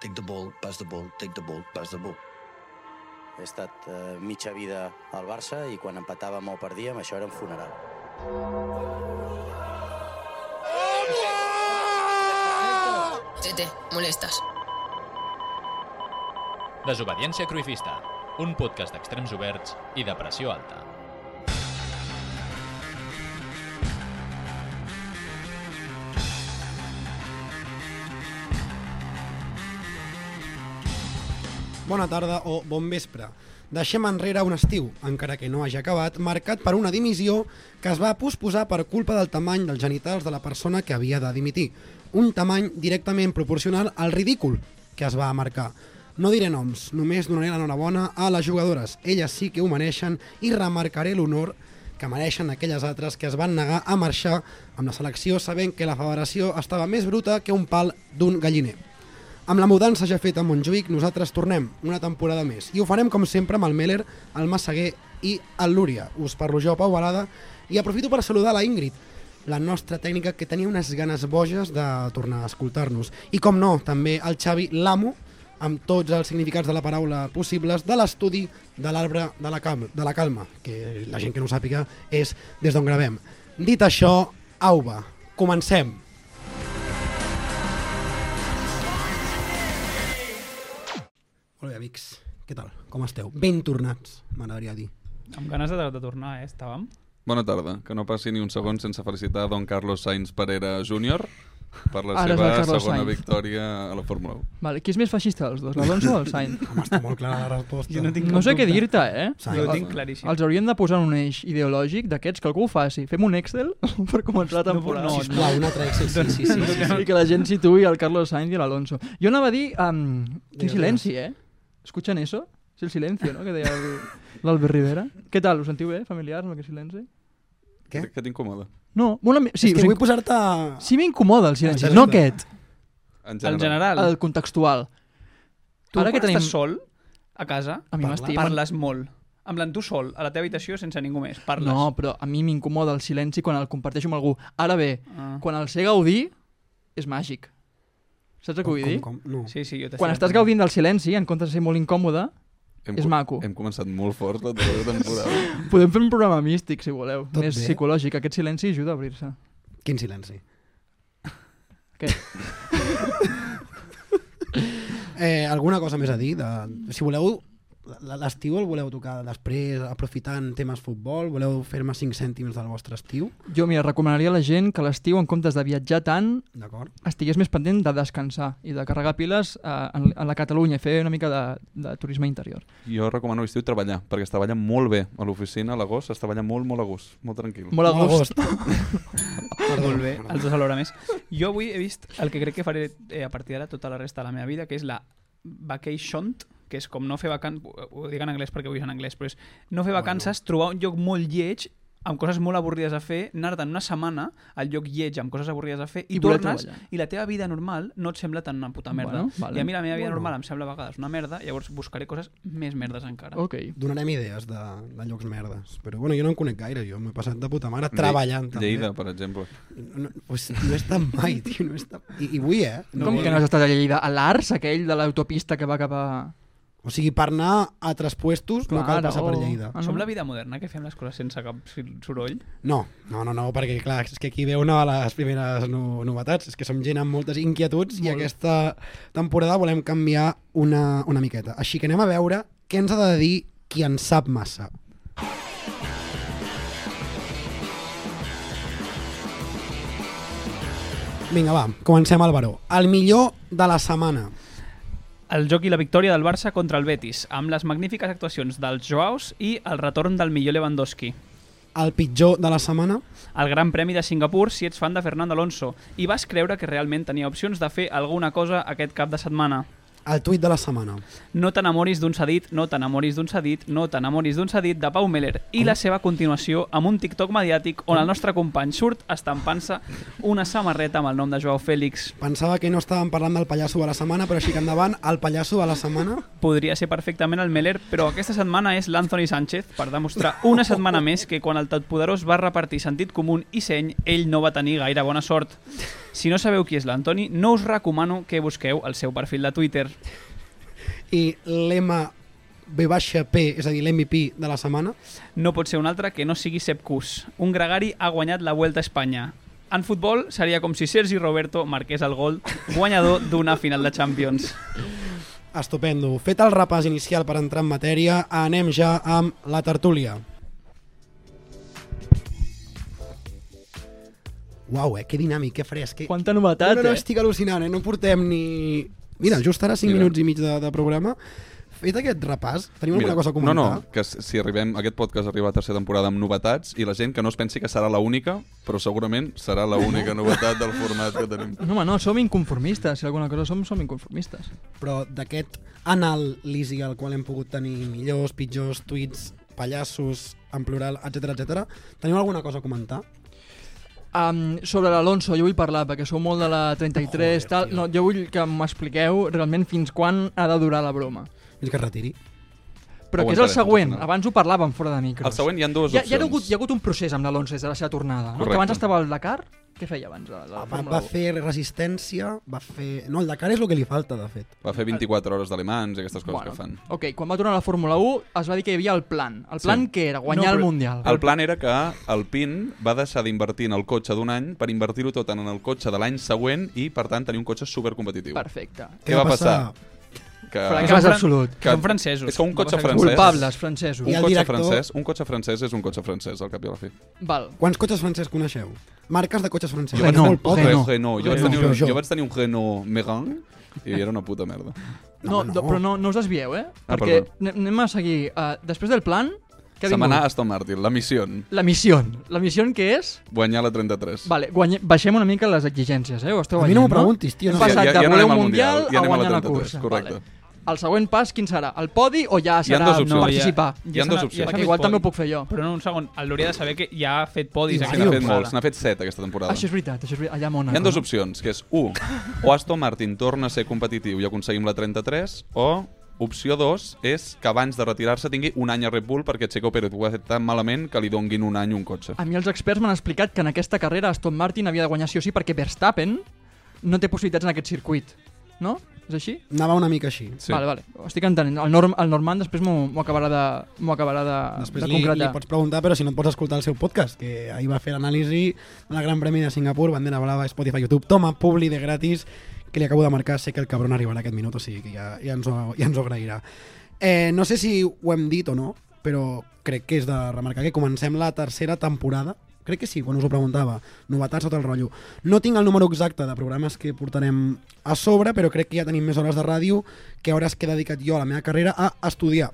take the ball, pass the ball, take the ball, pass the ball. He estat eh, mitja vida al Barça i quan empatàvem o perdíem, això era un funeral. Tete, molestas. Desobediència Cruifista, un podcast d'extrems oberts i de pressió alta. Bona tarda o bon vespre. Deixem enrere un estiu, encara que no hagi acabat, marcat per una dimissió que es va posposar per culpa del tamany dels genitals de la persona que havia de dimitir. Un tamany directament proporcional al ridícul que es va marcar. No diré noms, només donaré l'enhorabona a les jugadores. Elles sí que ho mereixen i remarcaré l'honor que mereixen aquelles altres que es van negar a marxar amb la selecció sabent que la federació estava més bruta que un pal d'un galliner. Amb la mudança ja feta a Montjuïc, nosaltres tornem una temporada més. I ho farem, com sempre, amb el Meller, el Massaguer i el Lúria. Us parlo jo, Pau Balada, i aprofito per saludar la Ingrid, la nostra tècnica que tenia unes ganes boges de tornar a escoltar-nos. I com no, també el Xavi Lamo, amb tots els significats de la paraula possibles de l'estudi de l'arbre de, la calma, de la calma, que la gent que no ho sàpiga és des d'on gravem. Dit això, au va, comencem! Molt bé, amics, què tal? Com esteu? Ben tornats, m'agradaria dir. Amb ganes de, de tornar, eh? Estàvem. Bona tarda. Que no passi ni un segon sense felicitar don Carlos Sainz Parera Júnior per la Ara és seva el Carlos segona Sainz. victòria a la Fórmula 1. Vale, qui és més feixista dels dos, l'Alonso o el Sainz? Home, està molt clara la resposta. Jo no tinc No sé cap què dubte. dir-te, eh? Sainz. Jo ho Ah, tinc ah. claríssim. Els haurien de posar en un eix ideològic d'aquests que algú ho faci. Fem un Excel per començar la No, temporada. no, Sisplau, un altre èxit. Doncs sí, sí, sí, I que la gent situï el Carlos Sainz i l'Alonso. Jo anava a dir... Um, quin Digues, silenci, eh? Escuchen eso? És el silencio, no?, que deia el- l'Albert Rivera. Què tal? Us sentiu bé, familiars, amb aquest silenci? Què? Que t'incomoda? No, molt... Amb... Sí, Sí, és que us vull inc- posar-te... sí m'incomoda el silenci, Exacte. no aquest, En En general. general, el contextual. tu Ara quan que tenim... estàs sol a casa, A mi Parla. m'estima. parles molt. En plan, tu sol, a la teva habitació, sense ningú més. Parles. No, però a mi m'incomoda el silenci quan el comparteixo amb algú. Ara bé, Ah. quan el sé gaudir, és màgic. Saps el que vull dir? Com, com? No. Sí, sí, jo t'estic Quan estàs entenent. gaudint del silenci, en comptes de ser molt incòmode, Hem, és co- maco. Hem començat molt fort tota la teva temporada. podem fer un programa místic, si voleu. Tot Més bé. psicològic. Aquest silenci ajuda a obrir-se. Quin silenci. Què? eh, alguna cosa més a dir? De, si voleu, l- l'estiu el voleu tocar després, aprofitant temes futbol, voleu fer-me 5 cèntims del vostre estiu, Jo, mira, recomanaria a la gent que a l'estiu, en comptes de viatjar tant, d'acord? estigués més pendent de descansar i de carregar piles eh, en, en la Catalunya i fer una mica de, de turisme interior. Jo recomano a l'estiu treballar, perquè es treballa molt bé a l'oficina, a l'agost, es treballa molt, molt a gust, molt tranquil. Molt a gust. Perdó, Molt bé, perdó. els dos alhora més. Jo avui he vist el que crec que faré eh, a partir d'ara tota la resta de la meva vida, que és la vacation, que és com no fer vacances, ho dic en anglès perquè avui és en anglès, però és no Ah, fer vacances, bueno. trobar un lloc molt lleig, amb coses molt avorrides a fer, anar-te'n una setmana al lloc lleig amb coses avorrides a fer i, I I voler tornes treballar. i la teva vida normal no et sembla tan una puta merda. Bueno, vale. I a mi la meva vida Bueno. normal em sembla a vegades una merda, llavors buscaré coses més merdes encara. Ok. Donarem idees de, de llocs merdes. Però bueno, jo no en conec gaire, jo m'he passat de puta mare treballant. també. Lleida, per exemple. No, no, pues, no he estat mai, tio, no he estat... I, i vull, eh? No, Com que no has estat a Lleida? A l'Ars, aquell de l'autopista que va cap a... O sigui, per anar a altres puestos no cal Claro. passar per Lleida. Ah, no? Som la vida moderna, que fem les coses sense cap soroll. No, no, no, no, perquè clar, és que aquí ve una de les primeres no, novetats, és que som gent amb moltes inquietuds i aquesta temporada volem canviar una, una miqueta. Així que anem a veure què ens ha de dir qui en sap massa. Vinga, va, comencem el baró. El millor de la setmana. El joc i la victòria del Barça contra el Betis, amb les magnífiques actuacions dels Joaus i el retorn del millor Lewandowski. El pitjor de la setmana. El Gran Premi de Singapur si ets fan de Fernando Alonso i vas creure que realment tenia opcions de fer alguna cosa aquest cap de setmana. El tuit de la setmana. No t'enamoris d'un cedit, no t'enamoris d'un cedit, no t'enamoris d'un cedit de Pau Meller i la seva continuació amb un TikTok mediàtic on el nostre company surt estampant-se una samarreta amb el nom de Joao Fèlix. Pensava que no estàvem parlant del pallasso de la setmana, però així que endavant, el pallasso de la setmana. podria ser perfectament el Meller, però aquesta setmana és l'Anthony Sánchez per demostrar una setmana més que quan el totpoderós va repartir sentit comú i seny, ell no va tenir gaire bona sort. Si no sabeu qui és l'Antoni, no us recomano que busqueu el seu perfil de Twitter. I l'EMA V-P, és a dir, l'MP de la setmana, No pot ser un altre que no sigui Sepp Kuss. Un gregari ha guanyat la Vuelta a Espanya. En futbol seria com si Sergi Roberto marqués el gol guanyador d'una final de Champions. estupendo. Fet el repàs inicial per entrar en matèria, anem ja amb la tertúlia. Uau, eh? Que dinàmic, que fresc. Que... Quanta novetat, no, no, no, eh? estic al·lucinant, eh? No portem ni... Mira, just ara 5 Mira. minuts i mig de, de programa. Fet aquest repàs, tenim alguna cosa a no, comentar? no, que s- si arribem, aquest podcast arriba a tercera temporada amb novetats i la gent que no es pensi que serà la única, però segurament serà la única novetat del format que tenim. No, home, no, som inconformistes. Si alguna cosa som, som inconformistes. Però d'aquest anàlisi al qual hem pogut tenir millors, pitjors, tuits, pallassos, en plural, etc etc. teniu alguna cosa a comentar? Um, sobre l'Alonso, jo vull parlar, perquè sou molt de la 33, Joder, tal... tio. No, jo vull que m'expliqueu realment fins quan ha de durar la broma. Fins que es retiri. Però Ho que és el entenem, següent, al final. abans ho parlàvem fora de micros. Al següent hi ha dues Hi ha, opcions. hi, ha hagut, hi ha hagut un procés amb l'Alonso des de la seva tornada. No? Correcte. Que abans estava al Dakar, què feia abans? La, la Va, Fórmula va 1? fer resistència, va fer... No, el Dakar és el que li falta, de fet. Va fer 24 hores d'alemans i aquestes coses bueno. que fan. Ok, quan va tornar a la Fórmula 1 es va dir que hi havia el plan. El Sí. plan sí. que era guanyar No, no, però- el Mundial. El plan era que el PIN va deixar d'invertir en el cotxe d'un any per invertir-ho tot en el cotxe de l'any següent i, per tant, tenir un cotxe supercompetitiu. Perfecte. Què va passar? Que... Francès Fran- absolut. que- Són francesos. És que un No cotxe passa res. francès... Culpables, francesos. Un I el cotxe, director- Eh, francès, un cotxe francès és un cotxe francès, al cap i a la fi. Val. Quants cotxes francès coneixeu? Marques de cotxes francès. Jo vaig- Renault, Molt poc. Renault. Re- Renault. Jo, vaig Renault. tenir un, Peugeot. jo vaig tenir un Renault Megan i era una puta merda. No, Home, no, però no, no us desvieu, eh? Ah, Perquè perdó. ne- anem a seguir. Uh, després del plan, què ha Se'n va anar a vingut? Aston Martin, la missió, La missió. La missió que és... guanyar la 33. Vale, guanya... baixem una mica les exigències, eh? Ho esteu A mi no m'ho veient, preguntis, tio. Hem No. passat Ja- ja- de ja no voler anem un al mundial, Mundial, ja a anem a la guanyar la, 33, cursa. correcte. Vale. El següent pas, quin serà? El podi o Hi ja ha serà dues opcions. No, ja- participar? Hi s'ha ha dues anat- opcions. s'ha Perquè fet igual també ho podi. puc fer jo. Però no, un segon, l'hauria de saber que ja ha fet podis. I aquesta N'ha Tio, fet temporada. molts, n'ha fet 7 aquesta temporada. Això és veritat, això és veritat. Allà a Mònaco. Hi ha dues no? opcions, que és 1. O Aston Martin torna a ser competitiu i aconseguim la 33, o opció 2 és que abans de retirar-se tingui un any a Red Bull perquè Checo Pérez ho ha fet tan malament que li donguin un any un cotxe. A mi els experts m'han explicat que en aquesta carrera Aston Martin havia de guanyar sí o sí perquè Verstappen no té possibilitats en aquest circuit. No? És així? Anava una mica així. Sí. Vale, vale. Ho estic entenent. El, norm, el Normand després m'ho m'ho acabarà de, m'ho acabarà de, Després de li, li concretar. pots preguntar, però si no et pots escoltar el seu podcast, que ahir va fer l'anàlisi de la Gran Premi de Singapur, bandera blava, Spotify, YouTube, toma, publi de gratis, que li acabo de marcar, sé que el cabron arribarà aquest minut, o sigui que ja, ja, ens, ho, ja ens ho agrairà. Eh, no sé si ho hem dit o no, però crec que és de remarcar que comencem la tercera temporada crec que sí, quan us ho preguntava, novetats tot el rotllo. No tinc el número exacte de programes que portarem a sobre, però crec que ja tenim més hores de ràdio que hores que he dedicat jo a la meva carrera a estudiar.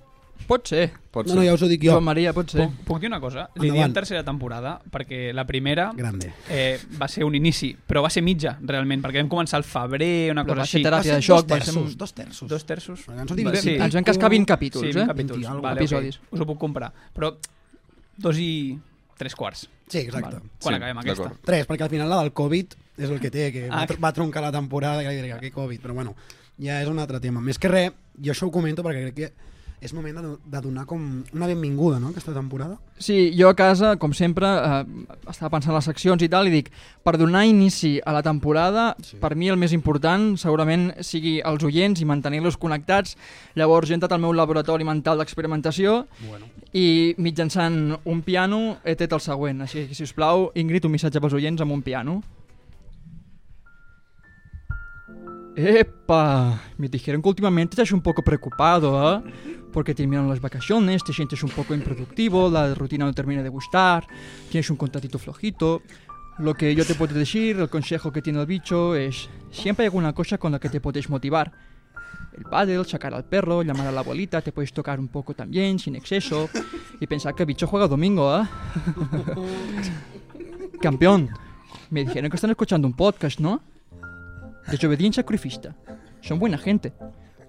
Pot ser. Pot No, no, ja us ho dic jo. Joan Maria, pot ser. Puc, puc dir una cosa? Li Endavant. diem tercera temporada perquè la primera Grande. eh, va ser un inici, però va ser mitja, realment, perquè vam començar al febrer, una Però cosa va ser així. Ah, teràpia. Gràcies, Va ser Ah, això, Dos va ser terços, un- dos terços. Dos terços. Ens ho diuen Va, sí. vint i Ens van cascar pico. 20 capítols, sí, eh? 20 20 capítols. i alguna vale, cosa. episodis. Us ho puc comprar. Però dos i tres quarts, Sí, exacte. quan Sí, acabem aquesta. d'acord. Tres, perquè al final la del Covid és el que té, que va, Ah. tr- va troncar la temporada, que diré que Covid, però bueno, ja és un altre tema. Més que res, jo això ho comento perquè crec que és moment de, de donar com una benvinguda, no?, aquesta temporada. Sí, jo a casa, com sempre, eh, estava pensant en les seccions i tal, i dic, per donar inici a la temporada, Sí. sí. per mi el més important segurament sigui els oients i mantenir-los connectats. Llavors, jo he entrat al meu laboratori mental d'experimentació Bueno. i mitjançant un piano he tret el següent. Així que, si us plau, Ingrid, un missatge pels oients amb un piano. Epa, me dijeron que últimamente estás un poco preocupado, ¿eh? Porque terminaron las vacaciones, te sientes un poco improductivo, la rutina no termina de gustar, tienes un contratito flojito. Lo que yo te puedo decir, el consejo que tiene el bicho es, siempre hay alguna cosa con la que te puedes motivar. El pádel, sacar al perro, llamar a la abuelita, te puedes tocar un poco también, sin exceso, y pensar que el bicho juega domingo, ¿eh? Campeón, me dijeron que están escuchando un podcast, ¿no? Desobediencia crufista. Son buena gente.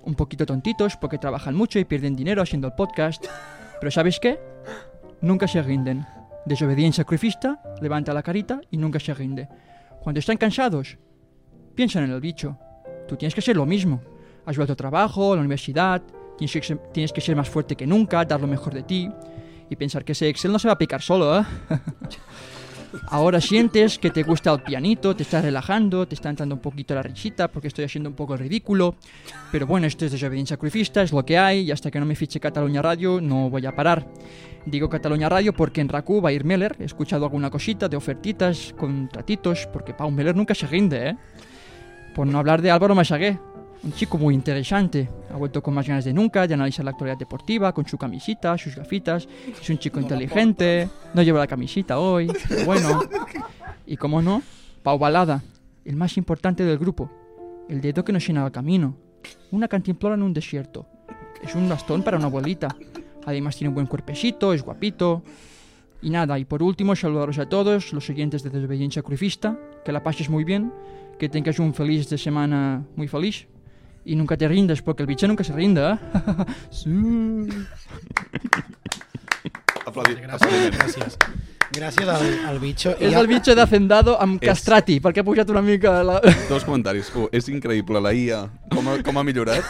Un poquito tontitos porque trabajan mucho y pierden dinero haciendo el podcast. Pero ¿sabes qué? Nunca se rinden. Desobediencia crufista levanta la carita y nunca se rinde. Cuando están cansados, piensan en el bicho. Tú tienes que ser lo mismo. Has vuelto a trabajo, a la universidad, tienes que, ser- tienes que ser más fuerte que nunca, dar lo mejor de ti. Y pensar que ese Excel no se va a picar solo, ¿eh? Ahora sientes que te gusta el pianito, te estás relajando, te está entrando un poquito la risita porque estoy haciendo un poco el ridículo. Pero bueno, esto es Desobediencia Sacrifista, es lo que hay y hasta que no me fiche Cataluña Radio no voy a parar. Digo Cataluña Radio porque en RACU va a ir Meller, he escuchado alguna cosita de ofertitas, contratitos, porque Pau Meller nunca se rinde, ¿eh? Por no hablar de Álvaro Masagué, un chico muy interesante. Ha vuelto con más ganas de nunca de analizar la actualidad deportiva, con su camisita, sus gafitas. Es un chico inteligente, no lleva la camisita hoy, pero bueno. Y como no, Pau Balada, el más importante del grupo. El dedo que nos llenaba el camino. Una cantimplora en un desierto. Es un bastón para una abuelita. Además tiene un buen cuerpecito, es guapito. Y nada, y por último, saludaros a todos, los oyentes de Desobediencia Sacrifista, que la pases muy bien, que tengas un feliz de semana muy feliz, y nunca te rindas, porque el bicho nunca se rinda, ¿eh? Sí. Aplaudi. Gràcies, gràcies. Gràcies al, al bitxo. És el bitxo de Hacendado amb És. castrati, perquè ha pujat una mica la... Dos comentaris. Un, és increïble, la IA, com ha, com ha millorat,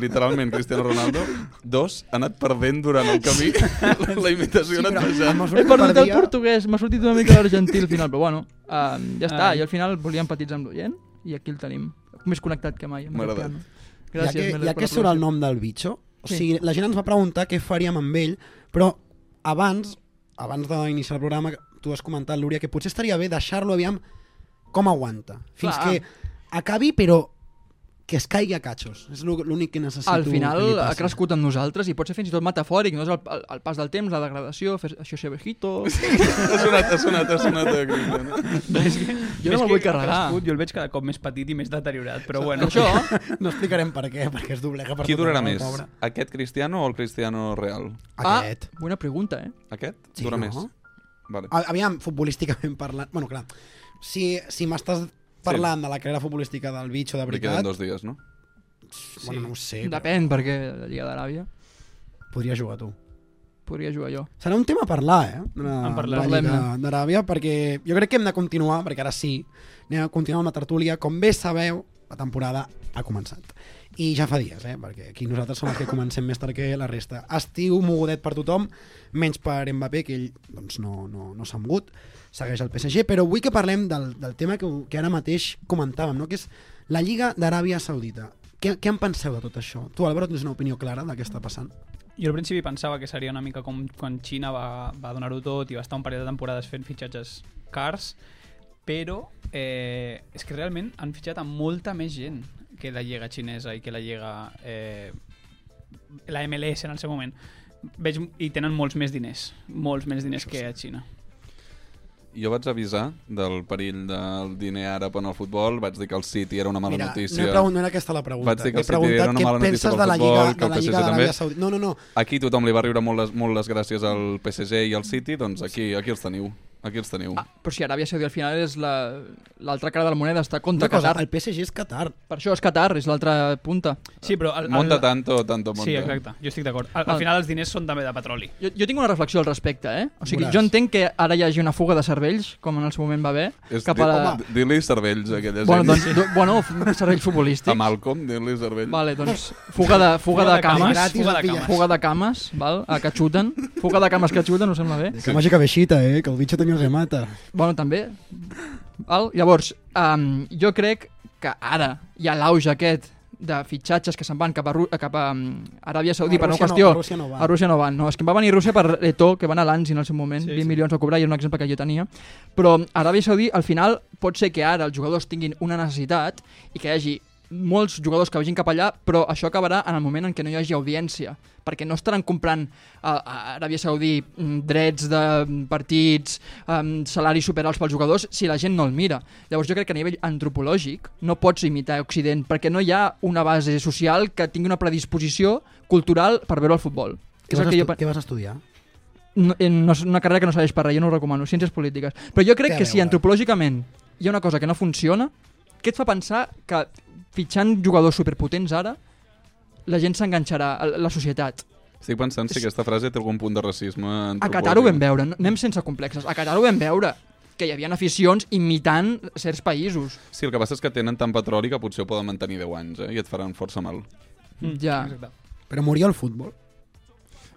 literalment, Cristiano Ronaldo. Dos, ha anat perdent durant el camí la imitació, ha anat A baixant. mesura He que perdut el perdia- portuguès, m'ha sortit una mica l'argentí al final, però bueno, uh, ja està, Ai. i al final volia empatitzar amb l'oient, i aquí el tenim, més connectat que mai. amb el M'ha agradat. piano. Ja que, Gràcies, Meller, ja per que la surt el aprovació. nom del bitxo, o Sí. sigui, la gent ens va preguntar què faríem amb ell, però abans, abans d'iniciar el programa, tu has comentat, Lúria, que potser estaria bé deixar-lo, aviam, com aguanta. Fins Clar. que acabi, però que es caigui a catxos. És l'ú- l'únic que necessito. Al que li final passi. ha crescut amb nosaltres i pot ser fins i tot metafòric, no és el, el, el pas del temps, la degradació, fer això ser vejito... Ha sonat, ha sonat, ha sonat. eh, Cristiano. Jo És no me'l vull que ha carregar. crescut, jo el veig cada cop més petit i més deteriorat, però bueno. Això, eh? No explicarem per què, perquè es doblega per Qui tot durarà arreu, més? pobre. Aquest Cristiano o el Cristiano real? ah, Aquest. bona pregunta, eh? Aquest? Sí, Dura no? més. Vale. Ah, A- Aviam, futbolísticament parlant... Bueno, clar, si, si m'estàs parlant sí. de la carrera futbolística del bitxo de Li queden veritat, dos dies, no? sí. bueno, no ho sé, però Depèn, perquè la Lliga d'Aràbia podria jugar tu. podria jugar jo. Serà un tema a parlar, eh? De la, En parlarem. de la Lliga d'Aràbia, perquè jo crec que hem de continuar, perquè ara sí, anem a continuar amb la tertúlia. Com bé sabeu, la temporada ha començat. I ja fa dies, eh? Perquè aquí nosaltres som els que comencem més tard que la resta. Estiu mogudet per tothom, menys per Mbappé, que ell doncs, no, no, no s'ha mogut, segueix el PSG, però vull que parlem del, del tema que, que ara mateix comentàvem, no? que és la Lliga d'Aràbia Saudita. Què, què en penseu de tot això? Tu, Álvaro, tens una opinió clara del que està passant? Jo al principi pensava que seria una mica com quan Xina va, va donar-ho tot i va estar un parell de temporades fent fitxatges cars, però eh, és que realment han fitxat a molta més gent que la Lliga xinesa i que la Lliga... Eh, la MLS en el seu moment. Veig, I tenen molts més diners, molts més diners que a Xina. Jo vaig avisar del perill del diner àrab en el futbol, vaig dir que el City era una mala Mira, No, notícia. he pregun- no era aquesta la pregunta. Vaig dir que He el City era preguntat una què mala notícia penses pel de la futbol, Lliga, que de el la PSG Lliga d'Aràbia també. Saudita. No, no, no. Aquí tothom li va riure molt les, molt les gràcies al PSG i al City, doncs aquí, aquí els teniu. Aquí els teniu. Ah, però si Aràbia Saudí al final és la- l'altra cara de la moneda, està Una contra cosa, Qatar. el PSG és Qatar. Per això és Qatar, és l'altra punta. Sí, però... Al, Monta tanto, tanto monta. Sí, exacte, jo estic d'acord. Al, al final els diners són també de petroli. Jo, jo tinc una reflexió al respecte, eh? O sigui, Veuràs. jo entenc que ara hi hagi una fuga de cervells, com en el seu moment va haver, És cap a la... di- Dir-li cervells, a aquella Bueno, gent. doncs, do, bueno, f- cervells futbolístics. A Malcolm, dir-li cervells. Vale, doncs, fuga de, fuga de cames. gratis, fuga la de pilles. cames. Fuga de cames, val? A que xuten. Fuga de cames que xuten, no sembla bé. Que màgica veixita, eh? Que el bitxo tenia remata. Bueno, també. Val? Llavors, um, jo crec que ara hi ha l'auge aquest de fitxatges que se'n van cap a, Ru cap a um, Aràbia Saudí A per una Rússia no, qüestió. a Rússia no van. A Rússia no van. No, és que em va venir Rússia per Eto, que van a l'Anzi en el seu moment, Sí, sí, 20 sí. sí. milions a cobrar, i era un exemple que jo tenia. Però Aràbia Saudí, al final, pot ser que ara els jugadors tinguin una necessitat i que hi hagi molts jugadors que vagin cap allà, però això acabarà en el moment en què no hi hagi audiència, perquè no estaran comprant a, a Aràbia Saudí mm, drets de mm, partits, um, salaris superals pels jugadors, si la gent no el mira. Llavors jo crec que a nivell antropològic no pots imitar Occident, perquè no hi ha una base social que tingui una predisposició cultural per veure el futbol. Què vas, el que estu pe- què vas estudiar? no, eh, no és una carrera que no serveix per res, jo no ho recomano, ciències polítiques. Però jo crec Té a que si veure. antropològicament hi ha una cosa que no funciona, què et fa pensar que fitxant jugadors superpotents ara la gent s'enganxarà a la societat? Estic pensant si aquesta frase té algun punt de racisme. A Qatar ho vam veure, no- anem sense complexes, a Qatar ho vam veure que hi havia aficions imitant certs països. Sí, el que passa és que tenen tant petroli que potser ho poden mantenir 10 anys, eh? I et faran força mal. Ja. Mm. Exacte. Però moria el futbol.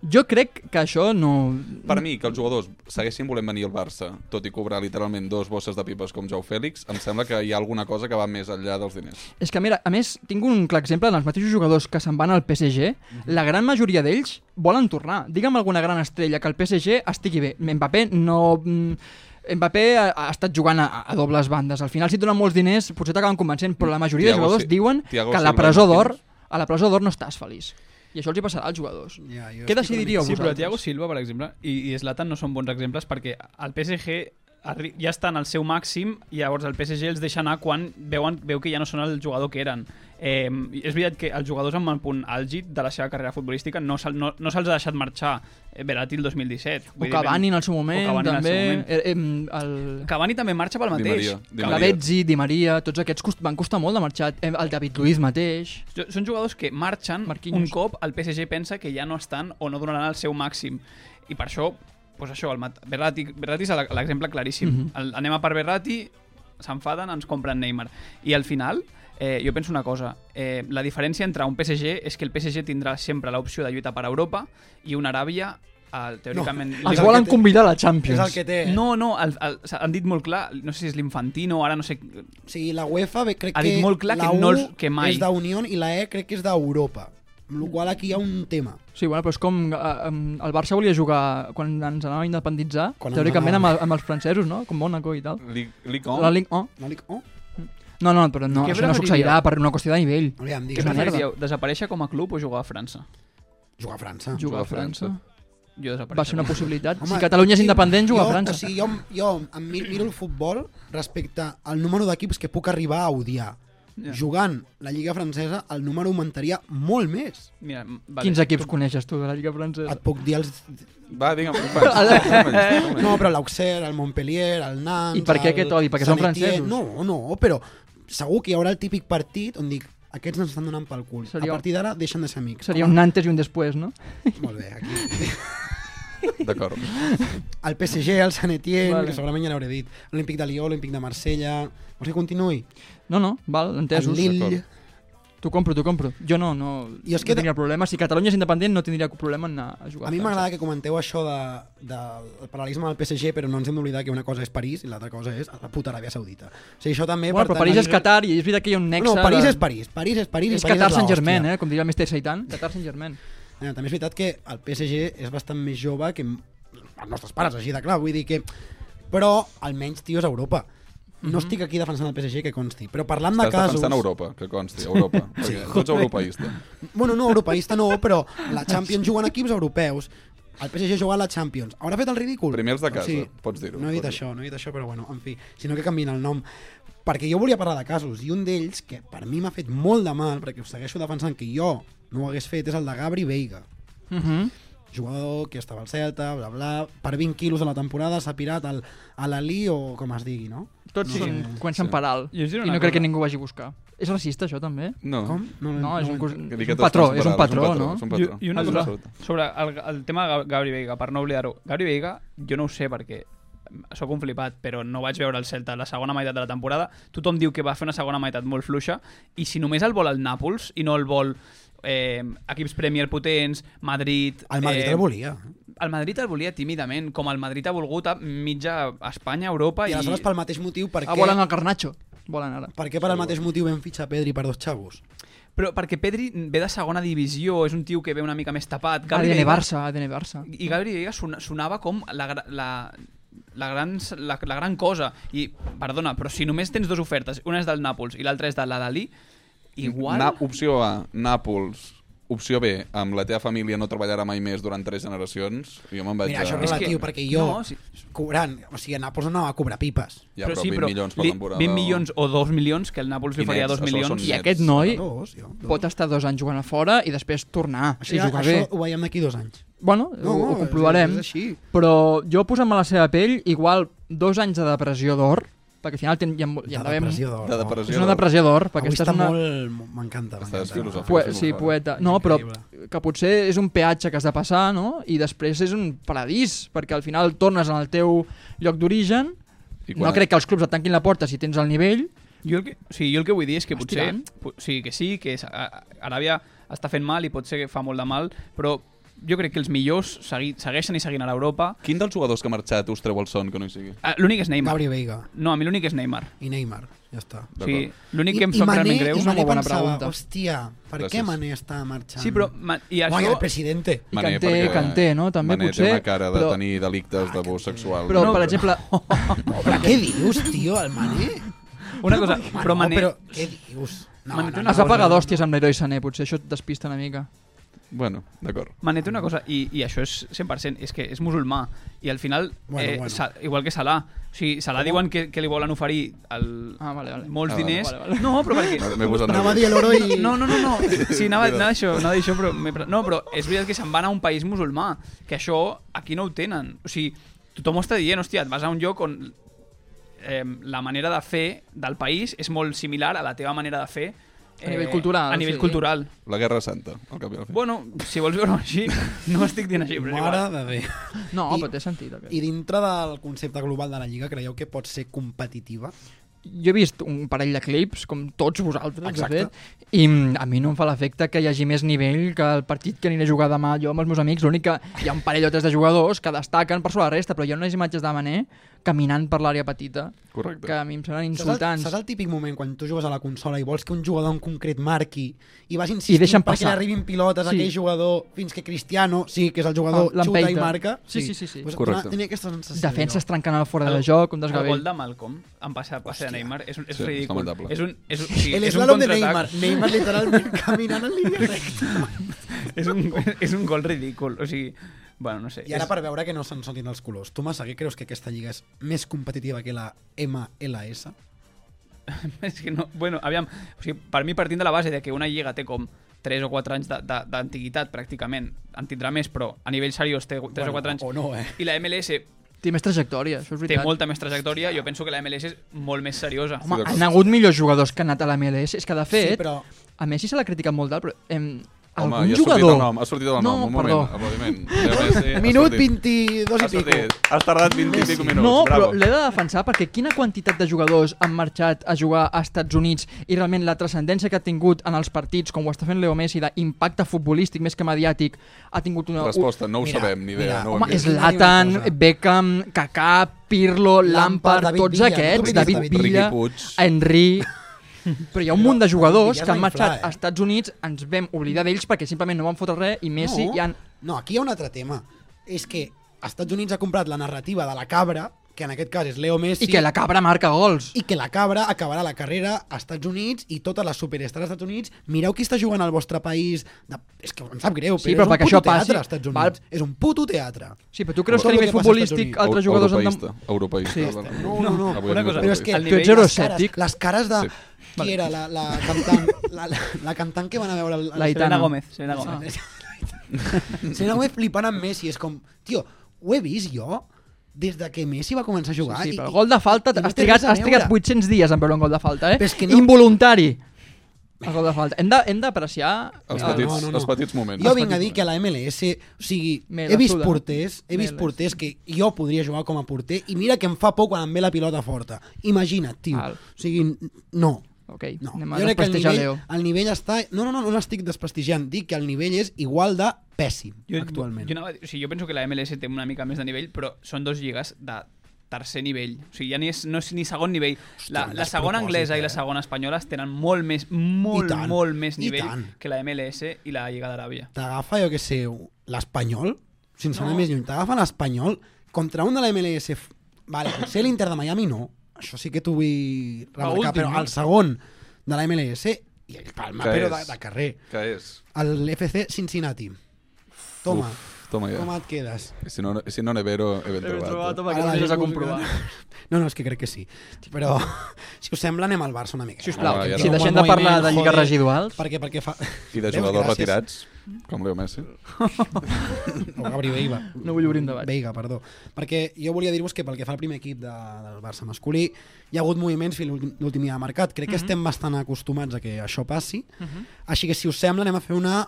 Jo crec que això no... Per mi, que els jugadors segueixin volent venir al Barça, tot i cobrar literalment dos bosses de pipes com Jou Fèlix, em sembla que hi ha alguna cosa que va més enllà dels diners. És que, mira, a més, tinc un clar exemple dels mateixos jugadors que se'n van al PSG. Mhm. La gran majoria d'ells volen tornar. Digue'm alguna gran estrella que el PSG estigui bé. Mbappé no... mm, Mbappé ha, ha estat jugant a, a dobles bandes. Al final, si et donen molts diners, potser t'acaben convencent, però la majoria de Thiago jugadors Si- diuen Thiago que a la Silva presó d'or Martínez. a la presó d'or no estàs feliç. I això els hi passarà als jugadors. Ja, jo Què estic decidiríeu Sí, però vosaltres? Thiago Silva, per exemple, i, i Zlatan no són bons exemples perquè el PSG arri- ja estan al seu màxim i llavors el PSG els deixa anar quan veuen, veu que ja no són el jugador que eren. Eh, és veritat que els jugadors amb el punt àlgid de la seva carrera futbolística no, se, no, no se'ls ha deixat marxar eh, Verati el 2017. O Vull dir, Cavani en el seu O moment, Cavani en el també. seu moment. Eh, em, el... Cavani també marxa pel Di mateix. Maria, Di Cavani- La Betzi, Di Maria, tots aquests cost... van costar molt de marxar. Eh, El David Luiz mateix. Jo- Són jugadors que marxen Marquinhos. un cop el PSG pensa que ja no estan o no donaran el seu màxim. I per això, doncs això el Mat- Berratti, Berratti és la- l'exemple claríssim. Mhm. el, anem a per Berratti, s'enfaden, ens compren Neymar. I al final, eh, jo penso una cosa. Eh, la diferència entre un PSG és que el PSG tindrà sempre l'opció de lluita per Europa i una Aràbia, eh, teòricament... li- Els el volen que té- convidar a la És el Champions. que té. No, no, el, el, han dit molt clar, no sé si és l'Infantino, ara no sé... O sigui, la UEFA ve, crec Ha dit que molt clar la que U no els- que mai. és d'Unió i la E crec que és d'Europa. Amb la qual cosa aquí hi ha un tema. Sí, bueno, però és com eh, em- el Barça volia jugar quan ens anava a independitzar, Quan ens teòricament amb, anava. el- amb els francesos, no? Com Mónaco i tal. Li, li com? La Ligue 1. No dic, oh, No, no, però no, Què això no succeirà preferiríeu? per una qüestió de nivell. aviam, Què digues. una merda. preferiríeu, desaparèixer com a club o jugar a França? Jugar a França. Jugar a França. Jo Va ser desapareixer. una possibilitat. Home, Si Catalunya és sí, independent, jugar jo, a França. O sigui, jo, jo em mi- miro el futbol respecte al número d'equips que puc arribar a odiar. Ja. Jugant la Lliga Francesa, el número augmentaria molt més. Mira, vale. Quins equips coneixes tu de la Lliga Francesa? Et puc dir els... Va, digue'm. Va, No, però l'Auxerre, el Montpellier, el Nantes... I per què el aquest odi? Perquè són Sant Etienne- francesos? No, no, però segur que hi haurà el típic partit on dic aquests ens estan donant pel cul. Seria- A partir d'ara deixen de ser amics. Seria Home, un antes i un després, no? Molt bé, aquí. D'acord. El PSG, el Sant Etienne, Vale. vale. que segurament ja n'hauré dit. L'Olímpic de Lió, l'Olímpic de Marsella... Vols que continuï? No, no, val, El entesos. Lille... d'acord. T'ho compro, t'ho compro. Jo no, no, I és no que- tindria problema. Si Catalunya és independent, no tindria cap problema en anar a jugar A mi França. m'agrada que comenteu això de, del paral·lelisme del PSG, però no ens hem d'oblidar que una cosa és París i l'altra cosa és la puta Aràbia Saudita. O sigui, això també... Bueno, per però tant, París la és lliga- Qatar i és veritat que hi ha un nexe... No, París de- és París, París és París i És París Qatar és Sant Germain, eh? Com diria el Mr. Seitan. Mm. Qatar Sant Germain. Eh, també és veritat que el PSG és bastant més jove que els nostres pares, així de clar, vull dir que... Però almenys, tio, és Europa. Mhm. No estic aquí defensant el PSG, que consti, però parlant de Estàs casos... defensant Europa, que consti, Europa. Perquè tu ets europeista. Bueno, no, europeista no, però la Champions juguen equips europeus. El PSG juga a la Champions. Haurà fet el ridícul? Primer els de casa, pots dir-ho, No he dit pots això, no he dit això, però bueno, en fi, sinó que canvien el nom. Perquè jo volia parlar de casos, i un d'ells, que per mi m'ha fet molt de mal, perquè ho segueixo defensant que jo no ho hagués fet, és el de Gabri Veiga. Uh Mm-hmm. -huh. jugador que estava al Celta, bla, bla, per 20 quilos a la temporada s'ha pirat al, a l'Ali o com es digui, no? Tots Sí. són, comencen Sí. per alt. I us diré I no una crec que cosa. ningú ho vagi a buscar. És racista, això, també? No. Com? No, és un, cos- Que és dir un que tots patró, pensen és un per patró, alt, no? És un patró. I- i Ah, una És cosa- absolut. Sobre el, el tema de Ga- Gabri Veiga, per no oblidar-ho, Gabri Veiga, jo no ho sé perquè sóc un flipat, però no vaig veure el Celta la segona meitat de la temporada. Tothom diu que va fer una segona meitat molt fluixa i si només el vol el Nàpols i no el vol eh, equips Premier potents, Madrid... El Madrid eh, el volia. El Madrid el volia tímidament, com el Madrid ha volgut a mitja Espanya, Europa I i... aleshores pel mateix motiu, per Ah, què, volen el Carnacho. Volen ara. per, què per el mateix motiu vam fitxar Pedri per dos xavos? Però perquè Pedri ve de segona divisió, és un tio que ve una mica més tapat. Gabri ADN Veiga- Barça, ADN Barça. I Gabri Veiga sona- sonava com la, gra- la, la, gran, la, la gran cosa. I, perdona, però si només tens dues ofertes, una és del Nàpols i l'altra és de la Dalí, igual... Na, opció A, Nàpols. Opció B, amb la teva família no treballarà mai més durant tres generacions. Jo me'n vaig Mira, això a... és relatiu, perquè jo, No, sí, cobrant, o sigui, a Nàpols no va cobrar pipes. Ja, però, sí, 20 milions per li- temporada. 20 milions o 2 milions, que el Nàpols li I faria 2 nets, això milions. són I nets. aquest noi Dos, jo. Dos. pot estar dos anys jugant a fora i després tornar Això, i ja, jugar això bé. ho veiem d'aquí dos anys. Bueno, ho, ho és- comprovarem. És així. Però jo posant-me a la seva pell, igual dos anys de depressió d'or, perquè al final ten, hi ha, mo- hi Ja ha de depressió d'or. De no? depressió. És una depressió d'or, perquè Avui estàs està una... molt... M'encanta, Estàs m'encanta. filosòfic. Pue, és sí, molt fort. poeta. No, però Increïble. que potser és un peatge que has de passar, no? I després és un paradís, perquè al final tornes en el teu lloc d'origen. I quan- No crec que els clubs et tanquin la porta si tens el nivell. Jo el que, o sigui, jo el que vull dir és que potser... Estirant. Po, o sigui, que sí, que és, a, a- Aràbia està fent mal i potser que fa molt de mal, però jo crec que els millors segui, segueixen i seguint a l'Europa. Quin dels jugadors que ha marxat us treu el son que no hi sigui? Ah, L'únic és Neymar. Gabri Veiga No, a mi l'únic és Neymar. i Neymar, ja està. O sigui, D'acord. l'únic que em sap realment greu... i Una Mané molt bona pensava, pregunta. Hòstia, per Gràcies. què Mané està marxant? Sí, però... ma- I Guai, això... el presidente. I Mané, Kanté, perquè Kanté, no? També Mané potser, té una cara de però- tenir delictes d'abús sexual. Però, No, per exemple... Però què dius, tio, el Mané? Una cosa, però no, Oh, Mané... però què dius? No, Mané té una Es va pagar d'hòsties amb l'Heroi Sané, potser això et despista una mica. Bueno, d'acord. Mané té una cosa, i, i això és 100%, és que és musulmà, i al final, Bueno, eh, bueno. Sa, igual que Salah, o sigui, Salah diuen que, que li volen oferir el, Ah, vale, vale. molts Ah, vale. diners... Vale, vale. No, però perquè... M'he posat Anava a dir nerviós. l'oro i... No, no, no, no. Sí, anava, anava això, anava això, però... m'he pre- No, però és veritat que se'n van a un país musulmà, que això aquí no ho tenen. O sigui, tothom ho està dient, hòstia, et vas a un lloc on eh, la manera de fer del país és molt similar a la teva manera de fer eh, A nivell cultural, A nivell sí. cultural. La Guerra Santa, al cap i a la fi. Bueno, si vols veure així, no estic dient així, però és Mare igual. de Déu. No, I- però té sentit. aquest. I dintre del concepte global de la Lliga, creieu que pot ser competitiva? jo he vist un parell de clips, com tots vosaltres, Exacte. de fet, i mm, a mi no em fa l'efecte que hi hagi més nivell que el partit que aniré a jugar demà jo amb els meus amics. L'únic que hi ha un parell o tres de jugadors que destaquen per sobre la resta, però hi ha unes imatges de Mané caminant per l'àrea petita Correcte. que a mi em Saps semblen el, insultants. saps el típic moment quan tu jugues a la consola i vols que un jugador en concret marqui i vas insistint deixen perquè passar. li arribin pilotes a Sí. aquell jugador fins que Cristiano, sí, que és el jugador, Ah, l'empenta. xuta i marca. Sí, sí, sí, sí. Pues, Correcte. dona- Tenia aquesta sensació. Defenses jo. trencant el fora El- de joc, un El desgavell. gol de Malcolm, en passa, passa de Neymar, és, un- és Sí, és ridícul. lamentable. És un, és, un- o sigui, El és un slalom de contraatac. Neymar. Neymar literalment caminant en línia recta. És un, és un gol ridícul, o sigui... Bueno, no sé. I ara és- per veure que no se'n sonin els colors. Tu, Massa, què creus que aquesta lliga és més competitiva que la MLS? És que no... Bueno, aviam, o sigui, per mi partint de la base de que una lliga té com 3 o 4 anys de- de- d'antiguitat, pràcticament, en tindrà més, però a nivell seriós té 3 Bueno, o 4 anys, o no, eh? i la MLS Té més trajectòria, això és té veritat. molta més trajectòria, jo penso que la MLS és molt més seriosa. Home, d'acord. han hagut millors jugadors que han anat a la MLS. És que, de fet, sí, però a Messi se l'ha criticat molt d'alt, però... Em, Home, algun ja ha sortit jugador... el nom, ha sortit el No, nom, un perdó. moment, aplaudiment. Leo Messi, Eh, ha Minut sortit. 22 Ha i pico. sortit. Has tardat 20 i pico minuts, No, bravo. però l'he de defensar perquè quina quantitat de jugadors han marxat a jugar a Estats Units i realment la transcendència que ha tingut en els partits, com ho està fent Leo Messi, d'impacte futbolístic més que mediàtic, ha tingut una... Resposta, no ho Mira, sabem, ni idea. mira, no ho hem Home, vist. Zlatan, Una cosa. Beckham, Kaká, Pirlo, Lampard, Lampard, David tots Villa, aquests, no David, t'oblidis, Riqui Villa, Puig. Henry... Però hi ha un munt de jugadors David Villa que han es va inflar, marxat eh? a Estats Units, ens vam oblidar d'ells perquè simplement no van fotre res i Messi no, ja... Han... No, aquí hi ha un altre tema. És que als Estats Units ha comprat la narrativa de la cabra, que en aquest cas és Leo Messi, I que la cabra marca gols. i que la cabra acabarà la carrera als Estats Units i totes les superestars als Estats Units. Mireu qui està jugant al vostre país. De... És que em sap greu, Sí, però, és un però perquè puto això passi, teatre als Estats val. Units. És un puto teatre. Sí, però tu creus que Tot a lo nivell que passa als Estats futbolístic Units. altres jugadors... han Europeïsta, de- europeïsta. Sí, Dona. No, no, no. Avui Una anem cosa, a Però és que El les nivell cares- escèptic. Les cares de... Sí. Qui era la, la, cantant, la, la, la cantant que van a veure... al- al- La Selena Aitana. Gómez, Selena Gómez. Ah, Serà un flipant amb Messi, és com... Tio, ho he vist jo des de que Messi va començar a jugar. Sí, sí, però i- gol de falta, i no has, té trigat, res a has trigat veure. 800 dies en veure un gol de falta, eh? Però és que no- Involuntari. El gol de falta. Hem de- Hem d'apreciar... Els No, Ah, petits, no, no, no. els petits moments. Jo vinc a dir que a la MLS, o sigui, Me he la vist suda. porters, he Me vist la- porters que jo podria jugar com a porter i mira que em fa por quan em ve la pilota forta. Imagina't, tio. Val. O sigui, n- no. Ah, Ok, No. anem a jo crec que el desprestigiar nivell, Ah, Leo. el nivell està... No, no, no, no l'estic desprestigiant. Dic que el nivell és igual de pèssim, actualment. Jo, anava, a dir- o sigui, jo penso que la MLS té una mica més de nivell, però són dos lligues de tercer nivell. O sigui, ja ni és, no és ni segon nivell. la, la despropòsit, segona anglesa eh? i la segona espanyola tenen molt més, molt, I tant, molt més i nivell tant. que la MLS i la Lliga d'Aràbia. t'agafa, jo que sé, l'Espanyol, sense anar més lluny, t'agafa l'Espanyol contra un de la MLS. f- Vale, potser l'Inter de Miami no, això sí que t'ho vull remarcar, últim, però no? el segon de la MLS i el Palma, Que però és? de, de carrer. Que és? El FC Cincinnati. Toma, Uf, Toma ja. com et quedes? Si no, si no nevero, he ben trobat. eh? Ara la gent No, no, és que crec que sí. Però, si us sembla, anem al Barça una mica. Sisplau, Ah, ja si no. deixem de Moviment, parlar de lligues joder. residuals... Perquè, perquè fa... I de Veus, jugadors gràcies. retirats, com Leo Messi. O Gabri Veiga. No vull obrir un debat. Veiga, perdó. Perquè jo volia dir-vos que pel que fa al primer equip de, del Barça masculí, hi ha hagut moviments fins l'últim l'últim dia de mercat. Crec que estem bastant acostumats a que això passi. Així que, si us sembla, anem a fer una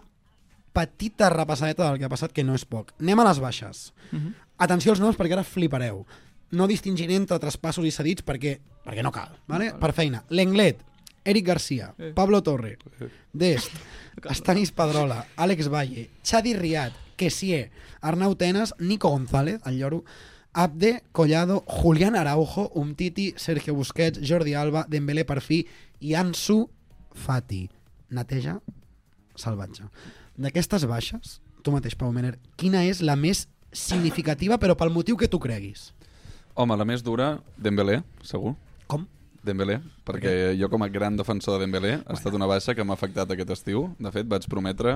petita repassadeta del que ha passat, que no és poc. Anem a les baixes. Atenció als noms, perquè ara flipareu. No distingiré entre traspassos i cedits perquè, perquè no cal. Vale? Per feina. L'Englet, Eric Garcia, Pablo Torre, Dest, Estanis Pedrola, Àlex Valle, Xadi Riad, Kessie, Arnau Tenas, Nico González, el lloro, Abde, Collado, Julián Araujo, Umtiti, Sergio Busquets, Jordi Alba, Dembélé Perfí i Ansu Fati. Neteja salvatge. D'aquestes baixes, tu mateix, Pau Mener, quina és la més significativa, però pel motiu que tu creguis? Home, la més dura, Dembélé, segur. Com? Dembélé, perquè jo com a gran defensor de Dembélé ha estat una baixa que m'ha afectat aquest estiu. De fet, vaig prometre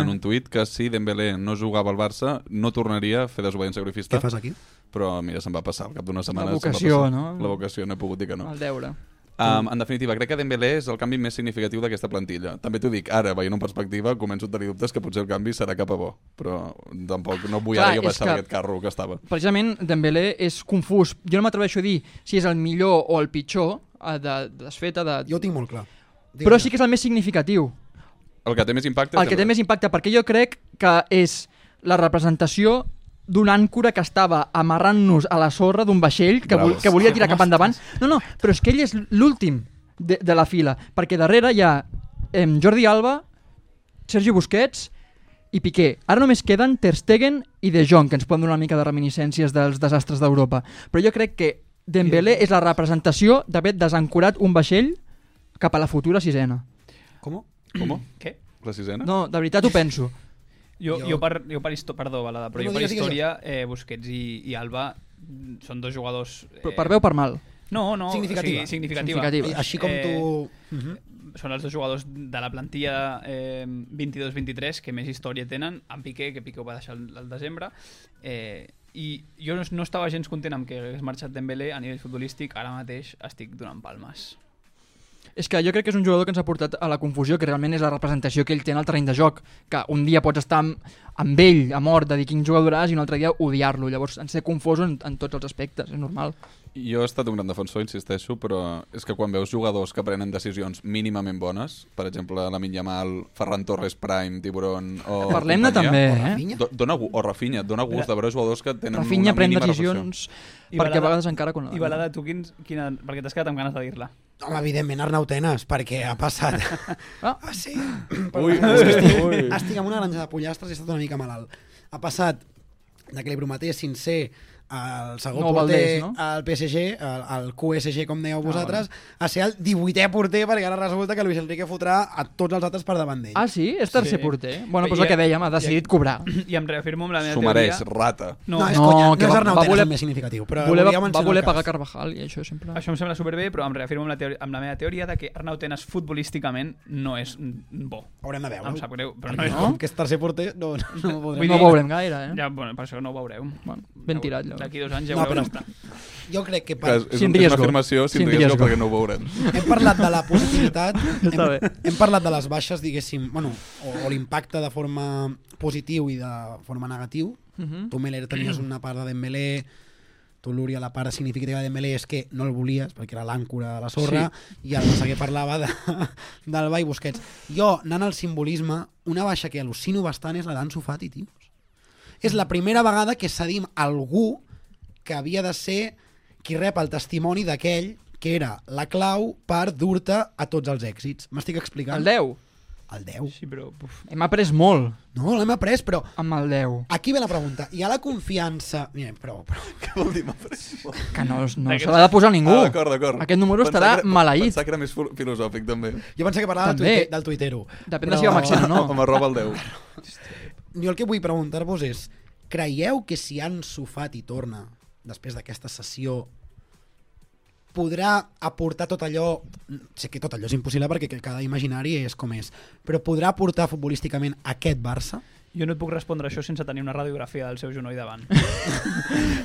en un tuit que si Dembélé no jugava al Barça no tornaria a fer desobediència sacrifista, Ah. Què fas aquí? però mira, se'n va passar al cap d'una setmana. La se'n va vocació, passar. no? La vocació, no he pogut dir que no. El deure. Mm. Um, en definitiva, crec que Dembélé és el canvi més significatiu d'aquesta plantilla. També t'ho dic, ara, veient en perspectiva, començo a tenir dubtes que potser el canvi serà cap a bo, però tampoc no vull Clar, ara jo és baixar que- d'aquest carro que estava. Precisament, Dembélé és confús. Jo no m'atreveixo a dir si és el millor o el pitjor eh, de, de desfeta, de... Jo ho tinc molt clar. Digue'm. però sí que és el més significatiu. El que té més impacte... El que té més impacte, perquè jo crec que és la representació d'una àncora que estava amarrant-nos a la sorra d'un vaixell que, vol, Bravos. que volia tirar cap endavant. No, no, però és que ell és l'últim de, de la fila, perquè darrere hi ha eh, Jordi Alba, Sergi Busquets i Piqué. Ara només queden Ter Stegen i De Jong, que ens poden donar una mica de reminiscències dels desastres d'Europa. Però jo crec que Dembélé és la representació d'haver desencorat un vaixell cap a la futura sisena. Com? Com? Què? La sisena? No, de veritat ho penso. Jo, Jo- jo, per, jo per història, perdó, Balada, No, però jo no, per digues, digues, història, eh, Busquets i, i Alba mm, són dos jugadors... Eh, Però per bé o per mal. No, no, Significativa. O sigui, significativa. Eh, Significativa. Ai, Així com Eh, tu... Uh -huh. Són els dos jugadors de la plantilla eh, 22-23 que més història tenen, en Piqué, que Piqué ho va deixar el, el desembre, eh, i jo no, no estava gens content amb que hagués marxat Dembélé a nivell futbolístic, ara mateix estic donant palmes. És que jo crec que és un jugador que ens ha portat a la confusió, que realment és la representació que ell té en el terreny de joc, que un dia pots estar amb, amb ell, a mort, de dir quin jugador és, i un altre dia odiar-lo. Llavors, ens ser confós en, en tots els aspectes, és normal. Jo he estat un gran defensor, insisteixo, però és que quan veus jugadors que prenen decisions mínimament bones, per exemple, la Yamal, Ferran Torres Prime, Tiburón... O Parlem-ne també, O eh? Rafinha? Do, dona, gu- o Rafinha, et dona gust de veure jugadors que tenen Rafinha una pren mínima decisions I perquè a Balada- vegades encara... Quan... I Balada, tu quins, quina, perquè t'has quedat amb ganes de dir-la. Home, evidentment, Arnau Tenes, perquè ha passat... Ah. ah sí? Ui, estic, ui. estic amb una granja de pollastres i he estat una mica malalt. Ha passat d'aquell bromater sincer al segon No, porter Valdés, no? al PSG, al, al QSG, com dèieu vosaltres, a ser el 18è porter, perquè ara resulta que Luis Enrique fotrà a tots els altres per davant d'ell. Ah, sí? És tercer Sí. porter? Bueno, Però doncs el ja- que dèiem, ha ja- decidit cobrar. I em reafirmo amb la S'ho meva mereix, teoria... rata. no, és no, conya, que no és va- Arnau va Tenes voler- el més significatiu, però Voler, volia va mencionar voler el pagar cas. Carvajal i això sempre... Això em sembla superbé, però em reafirmo amb la, teoria, amb la meva teoria de que Arnau Tenas futbolísticament no és mm, bo. Haurem de Em sap veure-ho. greu, però No? no és bo. Com que és tercer porter, no, no, no ho podrem Vull No dir- ho veurem gaire, eh? Ja, bueno, per això no ho veureu. Bueno, ben tirat, llavors. D'aquí dos anys ja No, ho veureu. però- No, però... Jo crec que Que per, és, és, Sin un, és una riesgo. afirmació sin, Sin riesgo, riesgo. perquè no ho veurem. hem parlat de la positivitat, Està hem, bé. hem parlat de les baixes, diguéssim, bueno, o, o l'impacte de forma positiu i de forma negatiu. Tu, Meller, tenies una part de Dembélé, tu, Lúria, la part significativa de Dembélé és que no el volies, perquè era l'àncora de la sorra, i el Massaguer parlava de, d'Alba i Busquets. Jo, anant al simbolisme, una baixa que al·lucino bastant és la d'Ansu Fati, tios. És la primera vegada que cedim algú que havia de ser qui rep el testimoni d'aquell que era la clau per dur-te a tots els èxits. M'estic explicant? El 10. El 10. Sí, però... Uf. Hem après molt No, l'hem après, però amb el 10. aquí ve la pregunta. Hi ha la confiança... Mira, prou, prou. Què vol dir, m'aprecio? Que no, no se l'ha de posar ningú. Ah, d'acord, d'acord. Aquest número Pensava estarà que era- maleït. Pensava que era més fil- filosòfic, també. Jo pensava que parlava del, També. tuite, del tuitero. Depèn de si va Maxi o no. Home, roba el 10. Jo el que vull preguntar-vos és, creieu que si Ansu Fati torna després d'aquesta sessió podrà aportar tot allò sé que tot allò és impossible perquè cada imaginari és com és, però podrà aportar futbolísticament aquest Barça? Jo no et puc respondre això sense tenir una radiografia del seu genoll davant.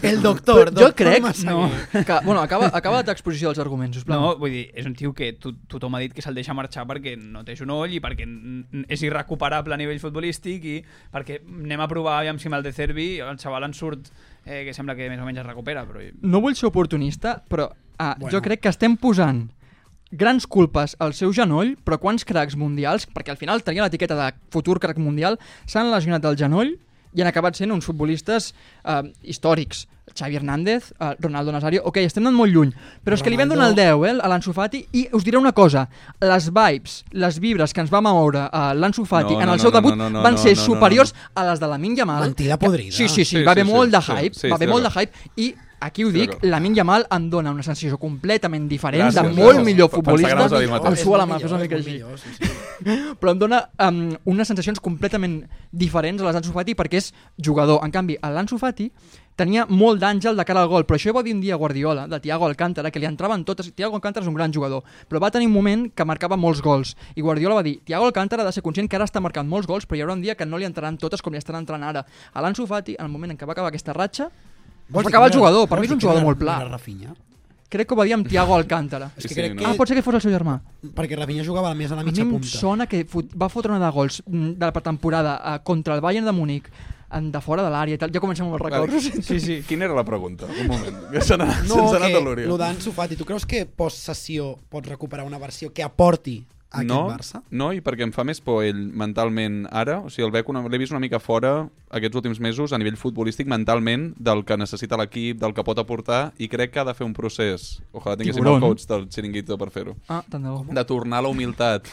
El doctor, Però jo doctor crec Massaguer. que, bueno, acaba, acaba l'exposició dels arguments, sisplau. No, vull dir, és un tio que to tothom ha dit que se'l deixa marxar perquè no té genoll i perquè n- n- és irrecuperable a nivell futbolístic i perquè anem a provar aviam si mal de Cervi i el xaval en surt eh, que sembla que més o menys es recupera, però... no vull ser oportunista, però ah, bueno. Bueno. jo crec que estem posant grans culpes al seu genoll, però quants cracs mundials, perquè al final tenia l'etiqueta de futur crac mundial, s'han lesionat el genoll i han acabat sent uns futbolistes eh, històrics. Xavi Hernández, eh, Ronaldo Nazario... Ok, estem anant molt lluny, però és que li vam donar el 10 eh, a l'Ansu Fati i us diré una cosa, les vibes, les vibres que ens va moure eh, l'Ansu Fati No, en no, el no, seu no, debut no, no, no, van ser no, no, superiors a les de la Minja Mal. Mentida podrida. Sí, sí, sí, Sí, va haver sí, molt sí, de sí, hype, sí, va haver estic molt de d'acord. hype i aquí ho Estic dic, d'acord. la Minja Mal em dona una sensació completament diferent Gràcies, de molt gràcies. Pensava millor que futbolista. anaves a dir el mateix. el És su a la molt mà, millor, és una mica és molt així. millor, sí, sí. Però em dona um, unes sensacions completament diferents a les d'Ansu Fati perquè és jugador. En canvi, a l'Ansu Fati tenia molt d'àngel de cara al gol, però això ho va dir un dia Guardiola, de Thiago Alcántara, que li entraven totes. Thiago Alcántara és un gran jugador, però va tenir un moment que marcava molts gols. I Guardiola va dir, Thiago Alcántara ha de ser conscient que ara està marcant molts gols, però hi haurà un dia que no li entraran totes com li estan entrant ara. A l'Ansu Fati, en el moment en què va acabar aquesta ratxa, Vols va dir acabar que el no- jugador. Per vols mi és dir un que jugador no molt era- pla. no era Rafinha? Crec que ho va dir amb Thiago Alcántara. És que Sí, crec no. que... Ah, pot ser que fos el seu germà. Perquè Rafinha jugava més a la A mi mitja em punta. sona que fot- va fotre una de gols mm, de la pretemporada eh, contra el Bayern de Múnich en- de fora de l'àrea i tal. Ja comencem amb els records. Sí, sí. Quina era la pregunta? Un moment. Que se n'ha No, no, anat que a l'Oriol. lo d'Ansu Fati, tu creus que post-sessió pots recuperar una versió que aporti a aquest no, Barça? no, i perquè em fa més por ell mentalment ara, o sigui, el veig una- l'he vist una mica fora aquests últims mesos a nivell futbolístic mentalment del que necessita l'equip, del que pot aportar, i crec que ha de fer un procés, ojalà tinguéssim Tiburón. el coach del xiringuito per fer-ho, Ah, tant de bo. de tornar a la humilitat